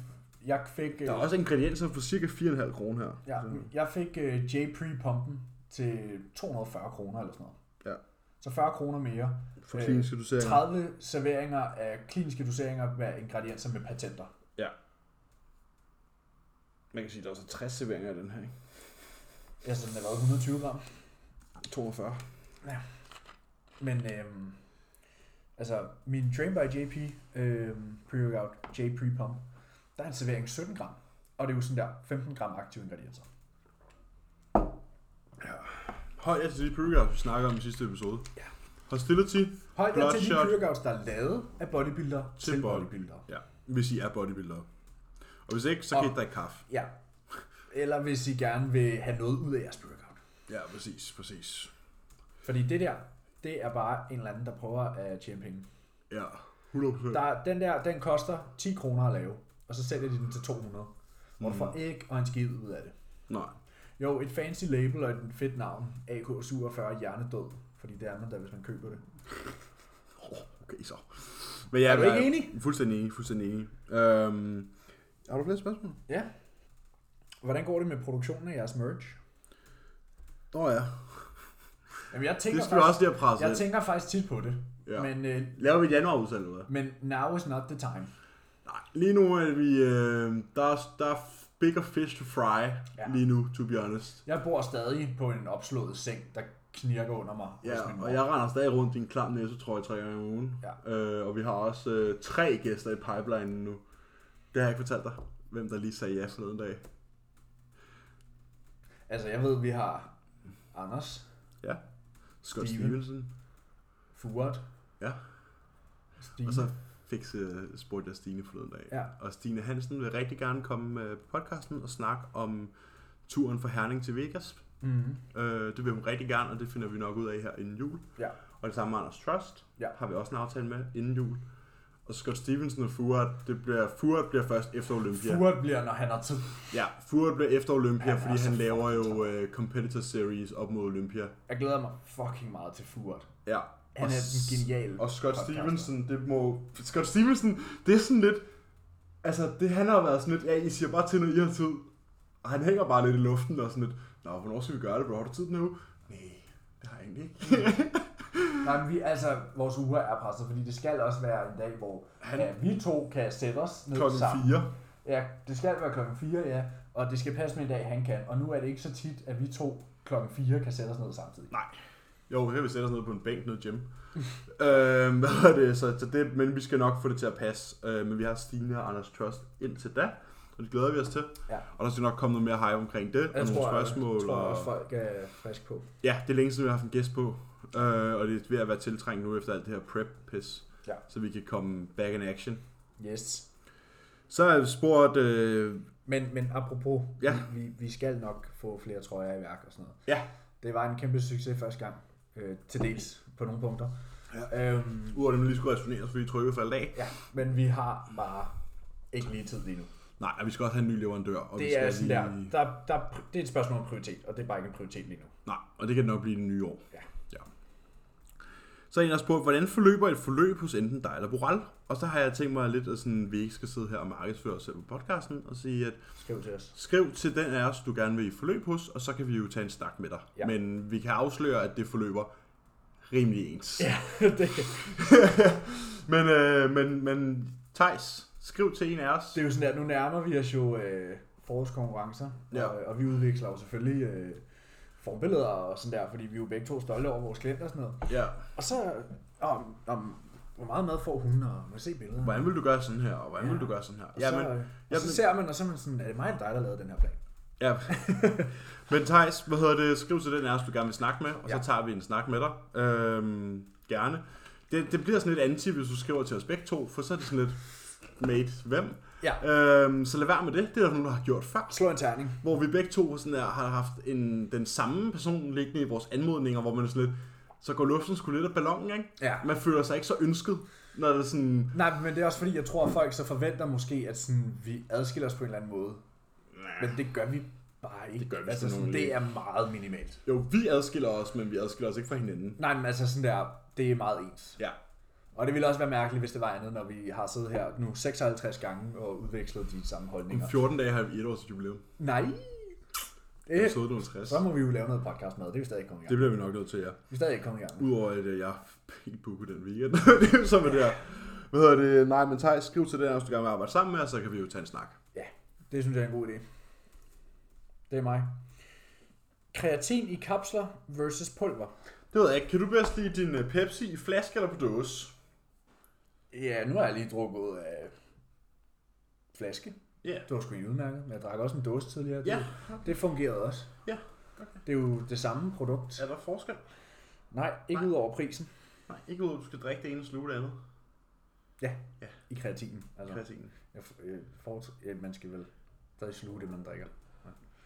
[SPEAKER 1] jeg fik... øh,
[SPEAKER 2] Der er også ingredienser for cirka 4,5 kroner her.
[SPEAKER 1] Ja,
[SPEAKER 2] Så-
[SPEAKER 1] jeg fik uh, J Pre-pumpen til 240 kroner eller sådan noget.
[SPEAKER 2] Ja.
[SPEAKER 1] Så 40 kroner mere.
[SPEAKER 2] For
[SPEAKER 1] øh,
[SPEAKER 2] kliniske doseringer.
[SPEAKER 1] 30 serveringer af kliniske doseringer med ingredienser med patenter.
[SPEAKER 2] Man kan sige, at der er også 60 serveringer af den her, ikke?
[SPEAKER 1] Altså, den er været 120 gram.
[SPEAKER 2] 42.
[SPEAKER 1] Men øhm, altså, øh, min Train by JP øhm, pre-workout, J Pre-pump, der er en servering 17 gram. Og det er jo sådan der 15 gram aktive ingredienser.
[SPEAKER 2] Høj til de pyrgers, vi snakker om i sidste episode.
[SPEAKER 1] Ja.
[SPEAKER 2] Hostility.
[SPEAKER 1] Højt er til de
[SPEAKER 2] Bloodshot.
[SPEAKER 1] pyrgavs, der er lavet af bodybuildere til,
[SPEAKER 2] Til
[SPEAKER 1] til
[SPEAKER 2] body-
[SPEAKER 1] bodybuildere.
[SPEAKER 2] Ja, hvis I er bodybuildere. Og hvis ikke, så kan
[SPEAKER 1] Og-
[SPEAKER 2] I drikke kaffe.
[SPEAKER 1] Ja. Eller hvis I gerne vil have noget ud af jeres workout.
[SPEAKER 2] Ja, præcis, præcis.
[SPEAKER 1] Fordi det der, det er bare en eller anden, der prøver at tjene penge.
[SPEAKER 2] Ja, 100%.
[SPEAKER 1] Der, er- den der, den koster 10 kroner at lave, og så sælger de den til 200. Hvor du
[SPEAKER 2] Mm.
[SPEAKER 1] får ikke og en skid ud af det.
[SPEAKER 2] Nej.
[SPEAKER 1] Jo, et fancy label og et fedt navn. AK47 Hjernedød. Fordi det er man da, hvis man køber det.
[SPEAKER 2] Oh, okay, så. Men ja,
[SPEAKER 1] Er du
[SPEAKER 2] jeg-
[SPEAKER 1] ikke enig?
[SPEAKER 2] Fuldstændig enig, fuldstændig enig. Øhm, har du flere spørgsmål?
[SPEAKER 1] Ja. Hvordan går det med produktionen af jeres merch?
[SPEAKER 2] Nå oh, ja,
[SPEAKER 1] Jamen, jeg tænker,
[SPEAKER 2] det skal du også
[SPEAKER 1] faktisk,
[SPEAKER 2] lige have presset.
[SPEAKER 1] jeg tænker faktisk tit på det.
[SPEAKER 2] Ja.
[SPEAKER 1] Ja. Men, øh,
[SPEAKER 2] Laver vi et januarudsalg, eller hvad?
[SPEAKER 1] men now is not the time.
[SPEAKER 2] Nej, lige nu er vi... Øh, der, er, der er bigger fish to fry
[SPEAKER 1] Ja.
[SPEAKER 2] lige nu, to be honest.
[SPEAKER 1] Jeg bor stadig på en opslået seng, der knirker under mig.
[SPEAKER 2] Ja,
[SPEAKER 1] hos min mor.
[SPEAKER 2] og jeg render stadig rundt i en klam næse, tror jeg, tre gange om ugen.
[SPEAKER 1] Ja.
[SPEAKER 2] Øh, og vi har også øh, tre gæster i pipeline nu. Det har jeg ikke fortalt dig, hvem der lige sagde ja forleden dag.
[SPEAKER 1] Altså, jeg ved, vi har Anders,
[SPEAKER 2] Ja. Scott
[SPEAKER 1] Steven.
[SPEAKER 2] Stevenson.
[SPEAKER 1] Furet,
[SPEAKER 2] Ja. Altså,
[SPEAKER 1] Stine.
[SPEAKER 2] Og så fik, øh, spurgte jeg Stine forleden dag.
[SPEAKER 1] Ja.
[SPEAKER 2] Og Stine Hansen vil rigtig gerne komme øh, på podcasten og snakke om turen fra Herning til Vegas.
[SPEAKER 1] mm-hmm.
[SPEAKER 2] Øh, det vil hun rigtig gerne, og det finder vi nok ud af her inden jul.
[SPEAKER 1] Ja.
[SPEAKER 2] Og det samme med Anders Trust
[SPEAKER 1] Ja.
[SPEAKER 2] har vi også en aftale med inden jul. Og Scott Stevenson og Furat, det bliver, Furat bliver først efter Olympia.
[SPEAKER 1] Furet bliver, når han har tid.
[SPEAKER 2] Ja, Furat bliver efter Olympia,
[SPEAKER 1] Han er
[SPEAKER 2] fordi
[SPEAKER 1] så
[SPEAKER 2] han laver
[SPEAKER 1] fucking
[SPEAKER 2] jo uh, Competitor Series op mod Olympia.
[SPEAKER 1] Jeg glæder mig fucking meget til Furet.
[SPEAKER 2] Ja.
[SPEAKER 1] Han er den geniale
[SPEAKER 2] Og Scott
[SPEAKER 1] podcaster.
[SPEAKER 2] Stevenson, det må... Scott Stevenson, det er sådan lidt... Altså, det, han har været sådan lidt, ja, I siger bare til, når I har tid. Og han hænger bare lidt i luften og sådan lidt, Nå, hvornår skal vi gøre det, bro? Har du tid nu? Nej, det har jeg egentlig ikke.
[SPEAKER 1] Nej, men vi, altså, vores uger er presset, fordi det skal også være en dag, hvor
[SPEAKER 2] Han-
[SPEAKER 1] han... ja, vi to kan sætte os ned
[SPEAKER 2] Klokken
[SPEAKER 1] sammen.
[SPEAKER 2] 4.
[SPEAKER 1] Ja, det skal være klokken 4, ja. Og det skal passe med i dag, han kan. Og nu er det ikke så tit, at vi to klokken 4 kan sætte os ned samtidig.
[SPEAKER 2] Nej. Jo, her vil vi sætte os ned på en bænk nede i gym. øhm, hvad hedder det, så, så det, men vi skal nok få det til at passe. Øh, men vi har Stine og Anders Trust indtil da, og det glæder vi os til.
[SPEAKER 1] Ja.
[SPEAKER 2] Og der skal nok komme noget mere hype omkring det, og nogle spørgsmål.
[SPEAKER 1] jeg, tror
[SPEAKER 2] og...
[SPEAKER 1] også, folk er friske på.
[SPEAKER 2] Ja, det er længe siden, vi har haft en gæst på, øh, og det er ved at være tiltrængt nu efter alt det her prep-pis,
[SPEAKER 1] Ja.
[SPEAKER 2] så vi kan komme back in action.
[SPEAKER 1] Yes.
[SPEAKER 2] Så har jeg spurgt, øh,
[SPEAKER 1] Men, men apropos,
[SPEAKER 2] Ja.
[SPEAKER 1] vi, vi skal nok få flere trøjer i værk og sådan noget.
[SPEAKER 2] ja,
[SPEAKER 1] Det var en kæmpe succes første gang, øh, til dels på nogle punkter. Ja. Øhm,
[SPEAKER 2] udover det, man lige skulle resonere, fordi trykket faldt af.
[SPEAKER 1] ja, men vi har bare ikke lige tid lige nu.
[SPEAKER 2] Nej, og vi skal også have en ny leverandør. Og vi
[SPEAKER 1] Det
[SPEAKER 2] skal
[SPEAKER 1] er sådan der,
[SPEAKER 2] lige...
[SPEAKER 1] der, der, det er et spørgsmål om prioritet, og det er bare ikke en prioritet lige nu.
[SPEAKER 2] Nej, og det kan det nok blive i det nye år.
[SPEAKER 1] Ja.
[SPEAKER 2] Ja. Så har jeg også spurgt, hvordan forløber et forløb hos enten dig eller Boral? Og så har jeg tænkt mig lidt, at sådan, vi ikke skal sidde her og markedsføre os selv på podcasten, og sige, at
[SPEAKER 1] Skriv til os.
[SPEAKER 2] skriv til den af os, du gerne vil i forløb hos, og så kan vi jo tage en snak med dig.
[SPEAKER 1] Ja.
[SPEAKER 2] Men vi kan afsløre, at det forløber rimelig ens.
[SPEAKER 1] Ja, det,
[SPEAKER 2] Men, øh, men, men Thijs, skriv til en af os.
[SPEAKER 1] det er jo sådan der, nu nærmer vi os jo øh, forårskonkurrencer,
[SPEAKER 2] Ja.
[SPEAKER 1] og, og vi udveksler jo selvfølgelig øh, forbilleder og sådan der, fordi vi er jo begge to stolte over vores klienter og sådan noget.
[SPEAKER 2] Ja.
[SPEAKER 1] Og så om, om hvor meget mad får hun, og man se billeder.
[SPEAKER 2] Hvordan vil du gøre sådan her, og hvordan ja. vil du gøre sådan her?
[SPEAKER 1] Og, så, og
[SPEAKER 2] jamen-
[SPEAKER 1] så ser man, og så er man sådan, er det mig eller dig, der lavede den her plan?
[SPEAKER 2] Ja. Men Thijs, hvad hedder det? Skriv til den af os, du gerne vil snakke med, og ja.
[SPEAKER 1] Ja.
[SPEAKER 2] så tager vi en snak med dig. Øhm, gerne. Det, det bliver sådan lidt anti, hvis du skriver til os begge to, for så er det sådan lidt, mate, hvem?
[SPEAKER 1] Ja.
[SPEAKER 2] Øhm, så lad være med det. Det er der nogen, der har gjort før.
[SPEAKER 1] Slå en terning.
[SPEAKER 2] Hvor vi begge to sådan der, har haft en, den samme person liggende i vores anmodninger, hvor man er sådan lidt, så går luften sgu lidt af ballonen, ikke?
[SPEAKER 1] Ja.
[SPEAKER 2] Man føler sig ikke så ønsket, når det er sådan,
[SPEAKER 1] Nej, men det er også fordi, jeg tror, at folk så forventer måske, at sådan, vi adskiller os på en eller anden måde. Men det gør vi bare ikke. Det,
[SPEAKER 2] gør vi
[SPEAKER 1] altså,
[SPEAKER 2] sådan
[SPEAKER 1] sådan,
[SPEAKER 2] nogenlunde.
[SPEAKER 1] det er meget minimalt.
[SPEAKER 2] jo, vi adskiller os, men vi adskiller os ikke fra hinanden.
[SPEAKER 1] Nej, men altså sådan der, det er meget ens.
[SPEAKER 2] Ja.
[SPEAKER 1] Og det ville også være mærkeligt, hvis det var andet, når vi har siddet her nu 56 gange og udvekslet de samme holdninger.
[SPEAKER 2] Om 14 dage har vi et års jubilæum.
[SPEAKER 1] Nej! Det,
[SPEAKER 2] Episode nummer 60.
[SPEAKER 1] så må vi jo lave noget podcast med, det er vi stadig ikke kommet i
[SPEAKER 2] Det
[SPEAKER 1] gang.
[SPEAKER 2] bliver vi nok nødt til, ja.
[SPEAKER 1] Vi er stadig ikke kommet i gang.
[SPEAKER 2] Udover at øh, jeg er helt booket den weekend. det er jo sådan, det er. Hvad hedder det? Nej, men Thijs, skriv til den, her, hvis du gerne vil arbejde sammen med os, så kan vi jo tage en snak.
[SPEAKER 1] Ja, det synes jeg er en god idé. Det er mig. Kreatin i kapsler versus pulver.
[SPEAKER 2] Det ved jeg ikke. Kan du bedst lide din øh, Pepsi i flaske eller på dåse?
[SPEAKER 1] Ja, nu har jeg lige drukket ud af flaske.
[SPEAKER 2] Ja.
[SPEAKER 1] Det var sgu egentlig udmærket, men jeg drak også en dåse tidligere.
[SPEAKER 2] Ja.
[SPEAKER 1] Det, det fungerede også.
[SPEAKER 2] Ja,
[SPEAKER 1] Okay. Det er jo det samme produkt.
[SPEAKER 2] Er der forskel?
[SPEAKER 1] Nej, ikke
[SPEAKER 2] Nej.
[SPEAKER 1] ud over prisen
[SPEAKER 2] Nej, ikke ud, at du skal drikke det ene og sluge det andet.
[SPEAKER 1] i kreatinen. Altså,
[SPEAKER 2] Kreatinen.
[SPEAKER 1] jeg, f- jeg foretræ- ja, man skal vel stadig sluge det, man drikker.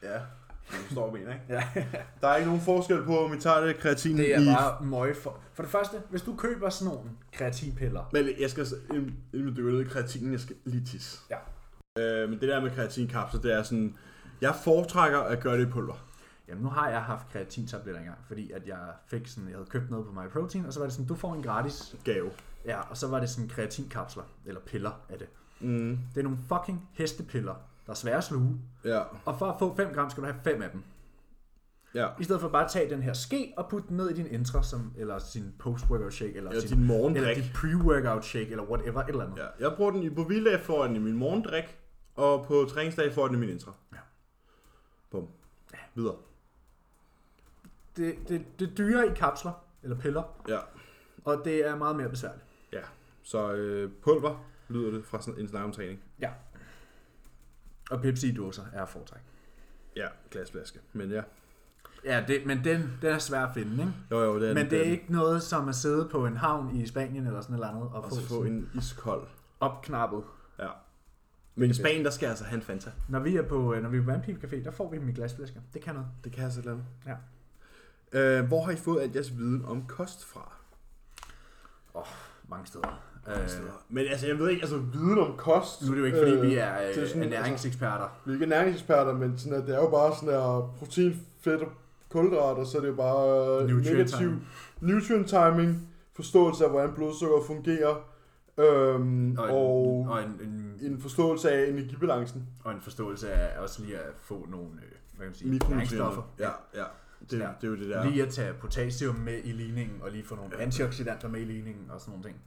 [SPEAKER 2] Ja, du står med, ikke?
[SPEAKER 1] Ja.
[SPEAKER 2] Der er ikke nogen forskel på, om I tager det kreatin
[SPEAKER 1] Det er
[SPEAKER 2] i...
[SPEAKER 1] bare møg for. For det første, hvis du køber sådan nogle kreatinpiller,
[SPEAKER 2] Men jeg skal, inden inden vi dykker ned i kreatinen, jeg skal lige tisse.
[SPEAKER 1] Ja.
[SPEAKER 2] Øh, men det der med kreatinkapsler, det er sådan... Jeg foretrækker at gøre det i pulver.
[SPEAKER 1] Jamen nu har jeg haft kreatintabletter engang, fordi at jeg fik sådan, jeg havde købt noget på MyProtein, og så var det sådan, du får en gratis.
[SPEAKER 2] Gave.
[SPEAKER 1] Ja, og så var det sådan kreatinkapsler, eller piller af det.
[SPEAKER 2] Mm.
[SPEAKER 1] Det er nogle fucking hestepiller, der er svære at sluge.
[SPEAKER 2] Ja,
[SPEAKER 1] Og for at få 5 gram, skal du have 5 af dem.
[SPEAKER 2] ja.
[SPEAKER 1] I stedet for bare at tage den her ske og putte den ned i din intra, som, eller sin post-workout shake, eller,
[SPEAKER 2] Eller
[SPEAKER 1] sin,
[SPEAKER 2] din morgendrik.
[SPEAKER 1] eller din pre-workout shake, eller whatever, et eller andet.
[SPEAKER 2] Ja, jeg bruger den i, på hviledag får jeg den i min morgendrik, og på træningsdag får jeg den i min intra.
[SPEAKER 1] Ja.
[SPEAKER 2] Bum. Videre.
[SPEAKER 1] Det, det, det er dyre i kapsler, eller piller,
[SPEAKER 2] Ja.
[SPEAKER 1] og det er meget mere besværligt.
[SPEAKER 2] Ja. Så øh, pulver lyder det fra sådan en snak om træning.
[SPEAKER 1] Ja. Og Pepsi i dåser er at foretrække.
[SPEAKER 2] Ja, glasflaske. Men ja.
[SPEAKER 1] Ja, det, men den, den er svær at finde, ikke?
[SPEAKER 2] Jo, jo, det er
[SPEAKER 1] Men
[SPEAKER 2] den,
[SPEAKER 1] det er
[SPEAKER 2] den.
[SPEAKER 1] ikke noget som at sidde på en havn i Spanien eller sådan et eller andet og,
[SPEAKER 2] Og
[SPEAKER 1] få,
[SPEAKER 2] så få en iskold.
[SPEAKER 1] opknappet.
[SPEAKER 2] Ja. Men i Spanien, der skal jeg altså have en Fanta.
[SPEAKER 1] Når vi er på øh, når vi er på Vandpip Café, der får vi dem i glasflasker. Det kan altså noget.
[SPEAKER 2] Det kan jeg så glemme.
[SPEAKER 1] Ja.
[SPEAKER 2] Øh, hvor har I fået alt jeres viden om kost fra?
[SPEAKER 1] Mange steder. Øh,
[SPEAKER 2] Men altså, jeg ved ikke, altså viden om kost...
[SPEAKER 1] nu er det jo ikke, fordi vi er
[SPEAKER 2] det er sådan,
[SPEAKER 1] øh, ernæringseksperter.
[SPEAKER 2] Vi er ikke næringseksperter, men sådan, at det er jo bare sådan der protein, fedt og kulhydrater, så er det jo bare øh,
[SPEAKER 1] Nutrient
[SPEAKER 2] negativ
[SPEAKER 1] timing.
[SPEAKER 2] nutrient timing, forståelse af, hvordan blodsukker fungerer, øhm, og,
[SPEAKER 1] Og, en, og, en, en,
[SPEAKER 2] en forståelse af energibalancen.
[SPEAKER 1] og en forståelse af også lige at få nogle øh, hvad kan man sige, næringsstoffer.
[SPEAKER 2] Ja, ja. Det,
[SPEAKER 1] Ja.
[SPEAKER 2] det er jo det der.
[SPEAKER 1] Lige at tage potassium med i ligningen, og lige få nogle antioxidanter med i ligningen og sådan nogle ting.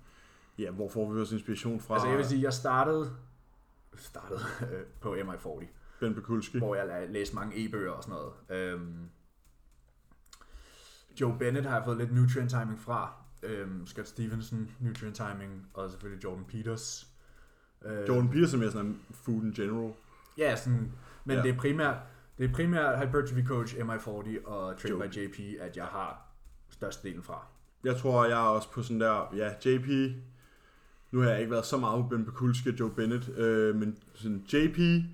[SPEAKER 2] Ja, hvor får vi vores inspiration fra?
[SPEAKER 1] Altså jeg vil sige, jeg startede, startede øh, på MI40.
[SPEAKER 2] Ben Bekulski.
[SPEAKER 1] hvor jeg la- læste mange e-bøger og sådan noget. Øhm, Joe Bennett har jeg fået lidt nutrient timing fra. Øhm, Scott Stevenson, nutrient timing, og selvfølgelig Jordan Peters. Øh,
[SPEAKER 2] Jordan Peterson er sådan en food in general.
[SPEAKER 1] Ja, sådan, men
[SPEAKER 2] Ja.
[SPEAKER 1] ja. det er primært, det er primært Hypertrophy Coach, MI40 og Train
[SPEAKER 2] Joe.
[SPEAKER 1] by JP, at jeg har størstedelen fra.
[SPEAKER 2] Jeg tror, jeg er også på sådan der, ja, JP, nu har jeg ikke været så meget på Ben Bekulski og Joe Bennett, øh, men sådan JP,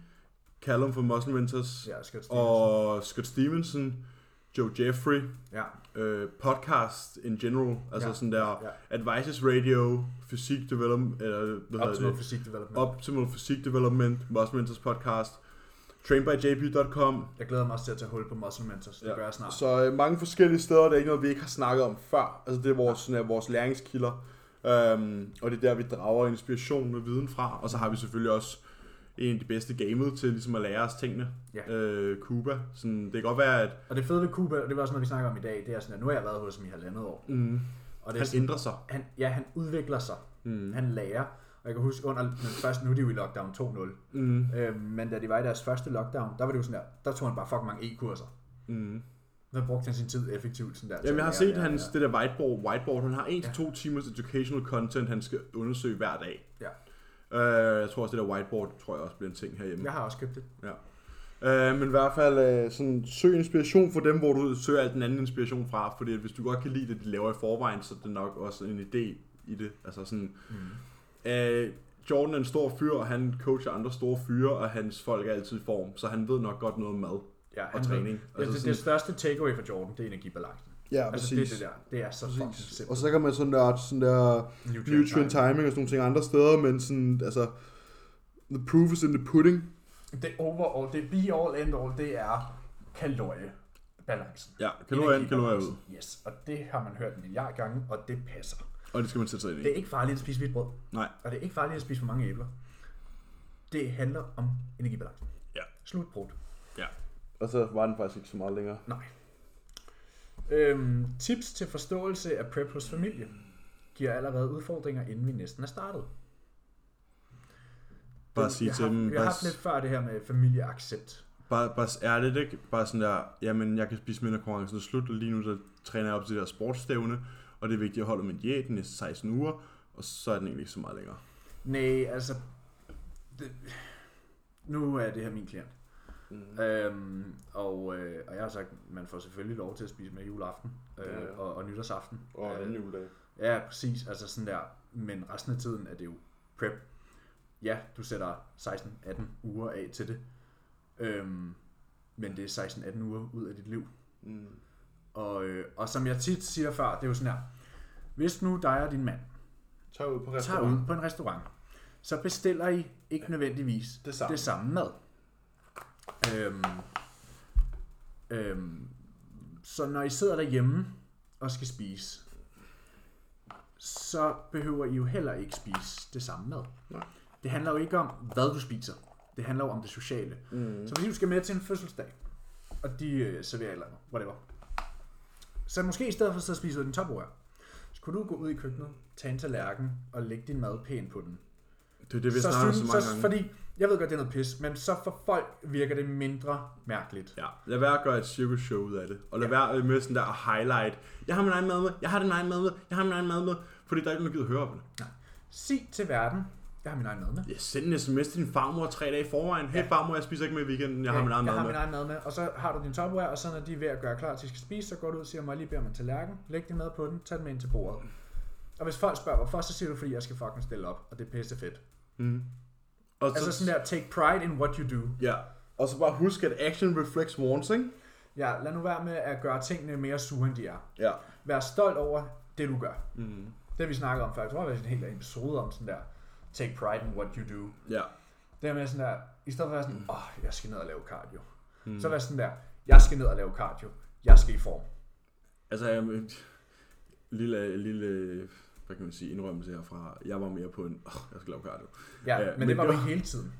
[SPEAKER 2] Callum fra Muscle Mentors,
[SPEAKER 1] Ja, Scott Stevenson.
[SPEAKER 2] og Scott Stevenson, Joe Jeffrey,
[SPEAKER 1] Ja,
[SPEAKER 2] øh, podcast in general, altså
[SPEAKER 1] Ja.
[SPEAKER 2] sådan der,
[SPEAKER 1] ja.
[SPEAKER 2] Advices Radio, Physique Development, eller hvad hedder
[SPEAKER 1] Optimal
[SPEAKER 2] det?
[SPEAKER 1] Physique Development.
[SPEAKER 2] Optimal Physique Development, Muscle Mentors podcast, trainbyjp.com,
[SPEAKER 1] Jeg glæder mig også til at tage hul på Muscle Mentors. Det
[SPEAKER 2] Ja.
[SPEAKER 1] ja. gør jeg snart.
[SPEAKER 2] Så øh, mange forskellige steder, det er ikke noget, vi ikke har snakket om før. Altså det er vores, sådan, er vores læringskilder, øhm, og det er der, vi drager inspiration og viden fra. Og så har vi selvfølgelig også en af de bedste gamet til ligesom at lære os tingene.
[SPEAKER 1] Ja.
[SPEAKER 2] Øh, Cuba. Sådan, det kan godt være, at
[SPEAKER 1] Og det fede ved Cuba, og det var også noget, vi snakker om i dag, det er sådan, at nu har jeg været hos dem i halvandet år.
[SPEAKER 2] mm,
[SPEAKER 1] Og det er
[SPEAKER 2] han ændrer sig.
[SPEAKER 1] han, ja, han udvikler sig.
[SPEAKER 2] Mm.
[SPEAKER 1] Han lærer. Og jeg kan huske, under, men først nu er de jo i lockdown 2.0.
[SPEAKER 2] Mm,
[SPEAKER 1] Øh, men da de var i deres første lockdown, der var det jo sådan der, der tog han bare fucking mange e-kurser.
[SPEAKER 2] mm.
[SPEAKER 1] Der brugte han sin tid effektivt. Sådan der, til
[SPEAKER 2] Jamen,
[SPEAKER 1] at
[SPEAKER 2] jeg har
[SPEAKER 1] lære,
[SPEAKER 2] set
[SPEAKER 1] lære,
[SPEAKER 2] hans,
[SPEAKER 1] lære.
[SPEAKER 2] det der whiteboard, whiteboard. Han har en til to timers educational content, han skal undersøge hver dag.
[SPEAKER 1] Ja.
[SPEAKER 2] Øh, jeg tror også, det der whiteboard, tror jeg også bliver en ting herhjemme.
[SPEAKER 1] Jeg har også købt det.
[SPEAKER 2] Ja. Øh, men i hvert fald øh, sådan, søg inspiration fra dem, hvor du søger al den anden inspiration fra, fordi at hvis du godt kan lide det, de laver i forvejen, så er det nok også en idé i det. Altså sådan, mm. øh, Jordan er en stor fyr, og han coacher andre store fyre, og hans folk er altid i form, så han ved nok godt noget om mad.
[SPEAKER 1] Ja, han-
[SPEAKER 2] træning.
[SPEAKER 1] Det,
[SPEAKER 2] Altså
[SPEAKER 1] det, det,
[SPEAKER 2] sådan-
[SPEAKER 1] største takeaway for Jordan, det er energibalancen.
[SPEAKER 2] Ja,
[SPEAKER 1] altså det, er det der, det er så fucking simpelt.
[SPEAKER 2] Og så kan man sådan nørde sådan der nutrient timing og sådan nogle ting andre steder, men sådan, altså, the proof is in the pudding.
[SPEAKER 1] Det overall, det be all end all, det er kaloriebalancen.
[SPEAKER 2] Ja, kalorier ind, kalorier ud.
[SPEAKER 1] Energibalancen. Yes, og det har man hørt en milliard gange, og det passer.
[SPEAKER 2] Og det skal man sætte sig ind i.
[SPEAKER 1] Det er ikke farligt at spise hvidt brød.
[SPEAKER 2] Nej.
[SPEAKER 1] Og det er ikke farligt at spise for mange æbler. Det handler om energibalancen.
[SPEAKER 2] Ja.
[SPEAKER 1] Slut brud.
[SPEAKER 2] Ja. Og så var den faktisk ikke så meget længere.
[SPEAKER 1] Nej. Øhm, tips til forståelse af prep hos familie giver allerede udfordringer, inden vi næsten er startet.
[SPEAKER 2] Bare sige
[SPEAKER 1] jeg
[SPEAKER 2] til
[SPEAKER 1] har,
[SPEAKER 2] dem,
[SPEAKER 1] Vi har
[SPEAKER 2] bare,
[SPEAKER 1] haft lidt før det her med familieaccept.
[SPEAKER 2] bare, bare er det ikke bare sådan der, jamen jeg kan spise mindre konkurrencen er slut, og lige nu så træner jeg op til det her sportsstævne, og det er vigtigt at holde min diæt de næste 16 uger, og så er den egentlig ikke så meget længere.
[SPEAKER 1] Nej, altså... Det, nu er det her min klient.
[SPEAKER 2] Mm.
[SPEAKER 1] Øhm, og, øh, og jeg har sagt, man får selvfølgelig lov til at spise med juleaften øh,
[SPEAKER 2] Ja, ja.
[SPEAKER 1] Og, og nytårsaften.
[SPEAKER 2] Og anden
[SPEAKER 1] øh,
[SPEAKER 2] juledag.
[SPEAKER 1] ja, præcis. Altså sådan der. Men resten af tiden er det jo prep. Ja, du sætter 16-18 uger af til det. Øhm, men det er 16-18 uger ud af dit liv.
[SPEAKER 2] Mm.
[SPEAKER 1] Og, øh, og som jeg tit siger før, det er jo sådan her. Hvis nu dig og din mand
[SPEAKER 2] Tag ud på
[SPEAKER 1] tager
[SPEAKER 2] restaurant.
[SPEAKER 1] ud på en restaurant, så bestiller I ikke nødvendigvis
[SPEAKER 2] Det samme.
[SPEAKER 1] det samme mad. Øhm, øhm, så når I sidder derhjemme og skal spise, så behøver I jo heller ikke spise det samme mad.
[SPEAKER 2] Nej.
[SPEAKER 1] Det handler jo ikke om, hvad du spiser. Det handler jo om det sociale. Mm. Så hvis du skal med til en fødselsdag, og de øh, serverer et eller andet, whatever. Så måske i stedet for så spiser du din toprør, så kunne du gå ud i køkkenet, tage en tallerken og lægge din mad pænt på den.
[SPEAKER 2] Det er det, vi
[SPEAKER 1] så
[SPEAKER 2] snakker så mange
[SPEAKER 1] så,
[SPEAKER 2] gange.
[SPEAKER 1] Fordi, jeg ved godt, det er noget pis, men så for folk virker det mindre mærkeligt.
[SPEAKER 2] Ja, lad være at gøre et cirkus show ud af det. Og lad være med sådan der at highlight. Jeg har min egen mad med, jeg har din egen mad med, jeg har min egen mad med. Fordi der er ikke nogen, der gider høre på det.
[SPEAKER 1] Sig til verden, jeg har min egen mad med.
[SPEAKER 2] Jeg sender en sms til din farmor tre dage i forvejen. Hey farmor, jeg spiser ikke med i weekenden, jeg har min egen
[SPEAKER 1] jeg
[SPEAKER 2] mad
[SPEAKER 1] har
[SPEAKER 2] med.
[SPEAKER 1] min egen mad med. Og så har du din topware, og så når de er ved at gøre klar til, at de skal spise, så går du ud og siger, mig lige beder om en tallerken, læg din mad på den, tag den med ind til bordet. Og hvis folk spørger, hvorfor, så siger du, fordi jeg skal fucking stille op, og det er pisse fedt.
[SPEAKER 2] Og så,
[SPEAKER 1] Altså sådan der, take pride in what you do.
[SPEAKER 2] Ja. Og så bare husk, at action reflects warns, ikke?
[SPEAKER 1] Ja, lad nu være med at gøre tingene mere sure, end de er.
[SPEAKER 2] Ja.
[SPEAKER 1] Vær stolt over det, du gør. Mm. Det har vi snakket om før. Jeg tror, det var en hel episode om sådan der, take pride in what you do.
[SPEAKER 2] Ja.
[SPEAKER 1] Det er med sådan der, i stedet for at være sådan, åh, oh, jeg skal ned og lave cardio. Mm. Så være sådan der, jeg skal ned og lave cardio. Jeg skal i form.
[SPEAKER 2] Altså, jeg, lille, lille, hvad kan man sige, indrømmelse herfra. Jeg var mere på en, oh, jeg skal lave cardio.
[SPEAKER 1] Ja,
[SPEAKER 2] Ja,
[SPEAKER 1] men,
[SPEAKER 2] men
[SPEAKER 1] men det var
[SPEAKER 2] det
[SPEAKER 1] jo
[SPEAKER 2] var-
[SPEAKER 1] ikke hele tiden.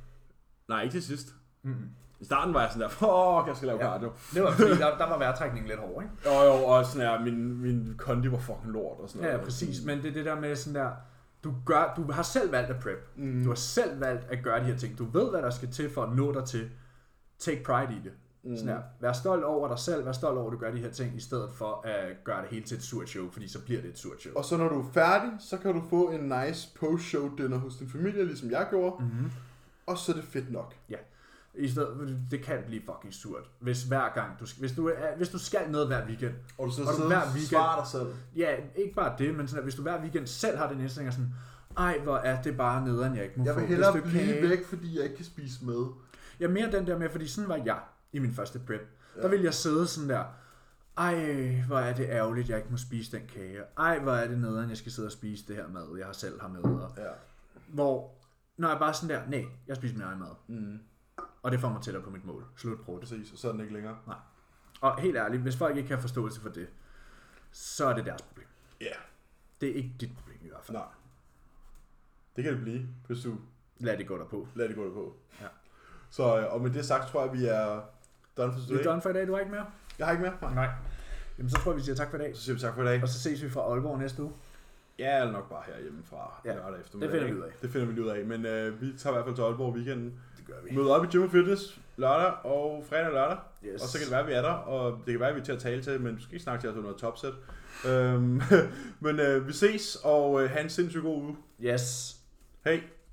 [SPEAKER 2] Nej, ikke til sidst. Mm-hmm. I starten var jeg sådan der, fuck, jeg skal lave ja. cardio.
[SPEAKER 1] Det var fordi, der, der var vejrtrækningen lidt hård, ikke?
[SPEAKER 2] Jo, jo, og sådan her, min, min kondi var fucking lort og sådan
[SPEAKER 1] Ja,
[SPEAKER 2] noget.
[SPEAKER 1] ja, præcis. Men det er det der med sådan der, du, gør, du har selv valgt at prep. Mm. Du har selv valgt at gøre de her ting. Du ved, hvad der skal til for at nå dig til. Take pride i det. Mm. Sådan her. Vær stolt over dig selv. Vær stolt over, at du gør de her ting, i stedet for at gøre det hele til et surt show, fordi så bliver det et surt show.
[SPEAKER 2] Og så når du er færdig, så kan du få en nice post-show dinner hos din familie, ligesom jeg gjorde. Mm-hmm. Og så er det fedt nok.
[SPEAKER 1] Ja. I stedet, det kan blive fucking surt, hvis hver gang du, skal- hvis du, er- hvis du skal noget hver weekend.
[SPEAKER 2] Og du så
[SPEAKER 1] Og du hver weekend-
[SPEAKER 2] dig selv.
[SPEAKER 1] Ja, ikke bare det, men sådan, at hvis du hver weekend selv har den indstilling, er sådan, ej, hvor er det bare nederen, jeg ikke må
[SPEAKER 2] Jeg
[SPEAKER 1] få det
[SPEAKER 2] vil hellere
[SPEAKER 1] stykke
[SPEAKER 2] blive
[SPEAKER 1] kage."
[SPEAKER 2] væk, fordi jeg ikke kan spise med.
[SPEAKER 1] Ja, mere den der med, fordi sådan var jeg i min første prep. Ja. Der ville jeg sidde sådan der, ej, hvor er det ærgerligt, jeg ikke må spise den kage. Ej, hvor er det nederen, jeg skal sidde og spise det her mad, jeg har selv har med. Og,
[SPEAKER 2] Ja.
[SPEAKER 1] Hvor, når jeg bare sådan der, nej, jeg spiser min egen mad. Mm. Og det får mig tættere på mit mål. Slut prøve
[SPEAKER 2] Præcis, og så er den ikke længere.
[SPEAKER 1] Nej. Og helt ærligt, hvis folk ikke har forståelse for det, så er det deres problem.
[SPEAKER 2] Ja. Yeah.
[SPEAKER 1] Det er ikke dit problem i hvert fald.
[SPEAKER 2] Nej. Det kan det blive, hvis du
[SPEAKER 1] Lad det gå derpå.
[SPEAKER 2] lader det gå dig på.
[SPEAKER 1] Ja.
[SPEAKER 2] Så, øh, og med det sagt, tror jeg, vi er done for
[SPEAKER 1] Du er
[SPEAKER 2] today.
[SPEAKER 1] done for i dag, du har ikke mere?
[SPEAKER 2] Jeg har ikke mere. Nej.
[SPEAKER 1] Nej. Jamen så tror jeg, vi siger tak for i dag.
[SPEAKER 2] Så siger vi tak for i dag.
[SPEAKER 1] Og så ses vi fra Aalborg næste uge.
[SPEAKER 2] Ja, eller nok bare herhjemme fra ja,
[SPEAKER 1] Ja,
[SPEAKER 2] lørdag
[SPEAKER 1] det
[SPEAKER 2] eftermiddag.
[SPEAKER 1] finder vi
[SPEAKER 2] ikke?
[SPEAKER 1] ud af.
[SPEAKER 2] Det finder vi lige ud af, men øh, vi tager i hvert fald til Aalborg i weekenden.
[SPEAKER 1] Det gør vi.
[SPEAKER 2] Mød op i Gym Fitness lørdag og fredag og lørdag.
[SPEAKER 1] Yes.
[SPEAKER 2] Og så kan det være, at vi er der, og det kan være, at vi er til at tale til, men du skal ikke snakke til os om noget topset. Øhm, men øh, vi ses, og øh, have en sindssygt god uge.
[SPEAKER 1] Yes.
[SPEAKER 2] Hej!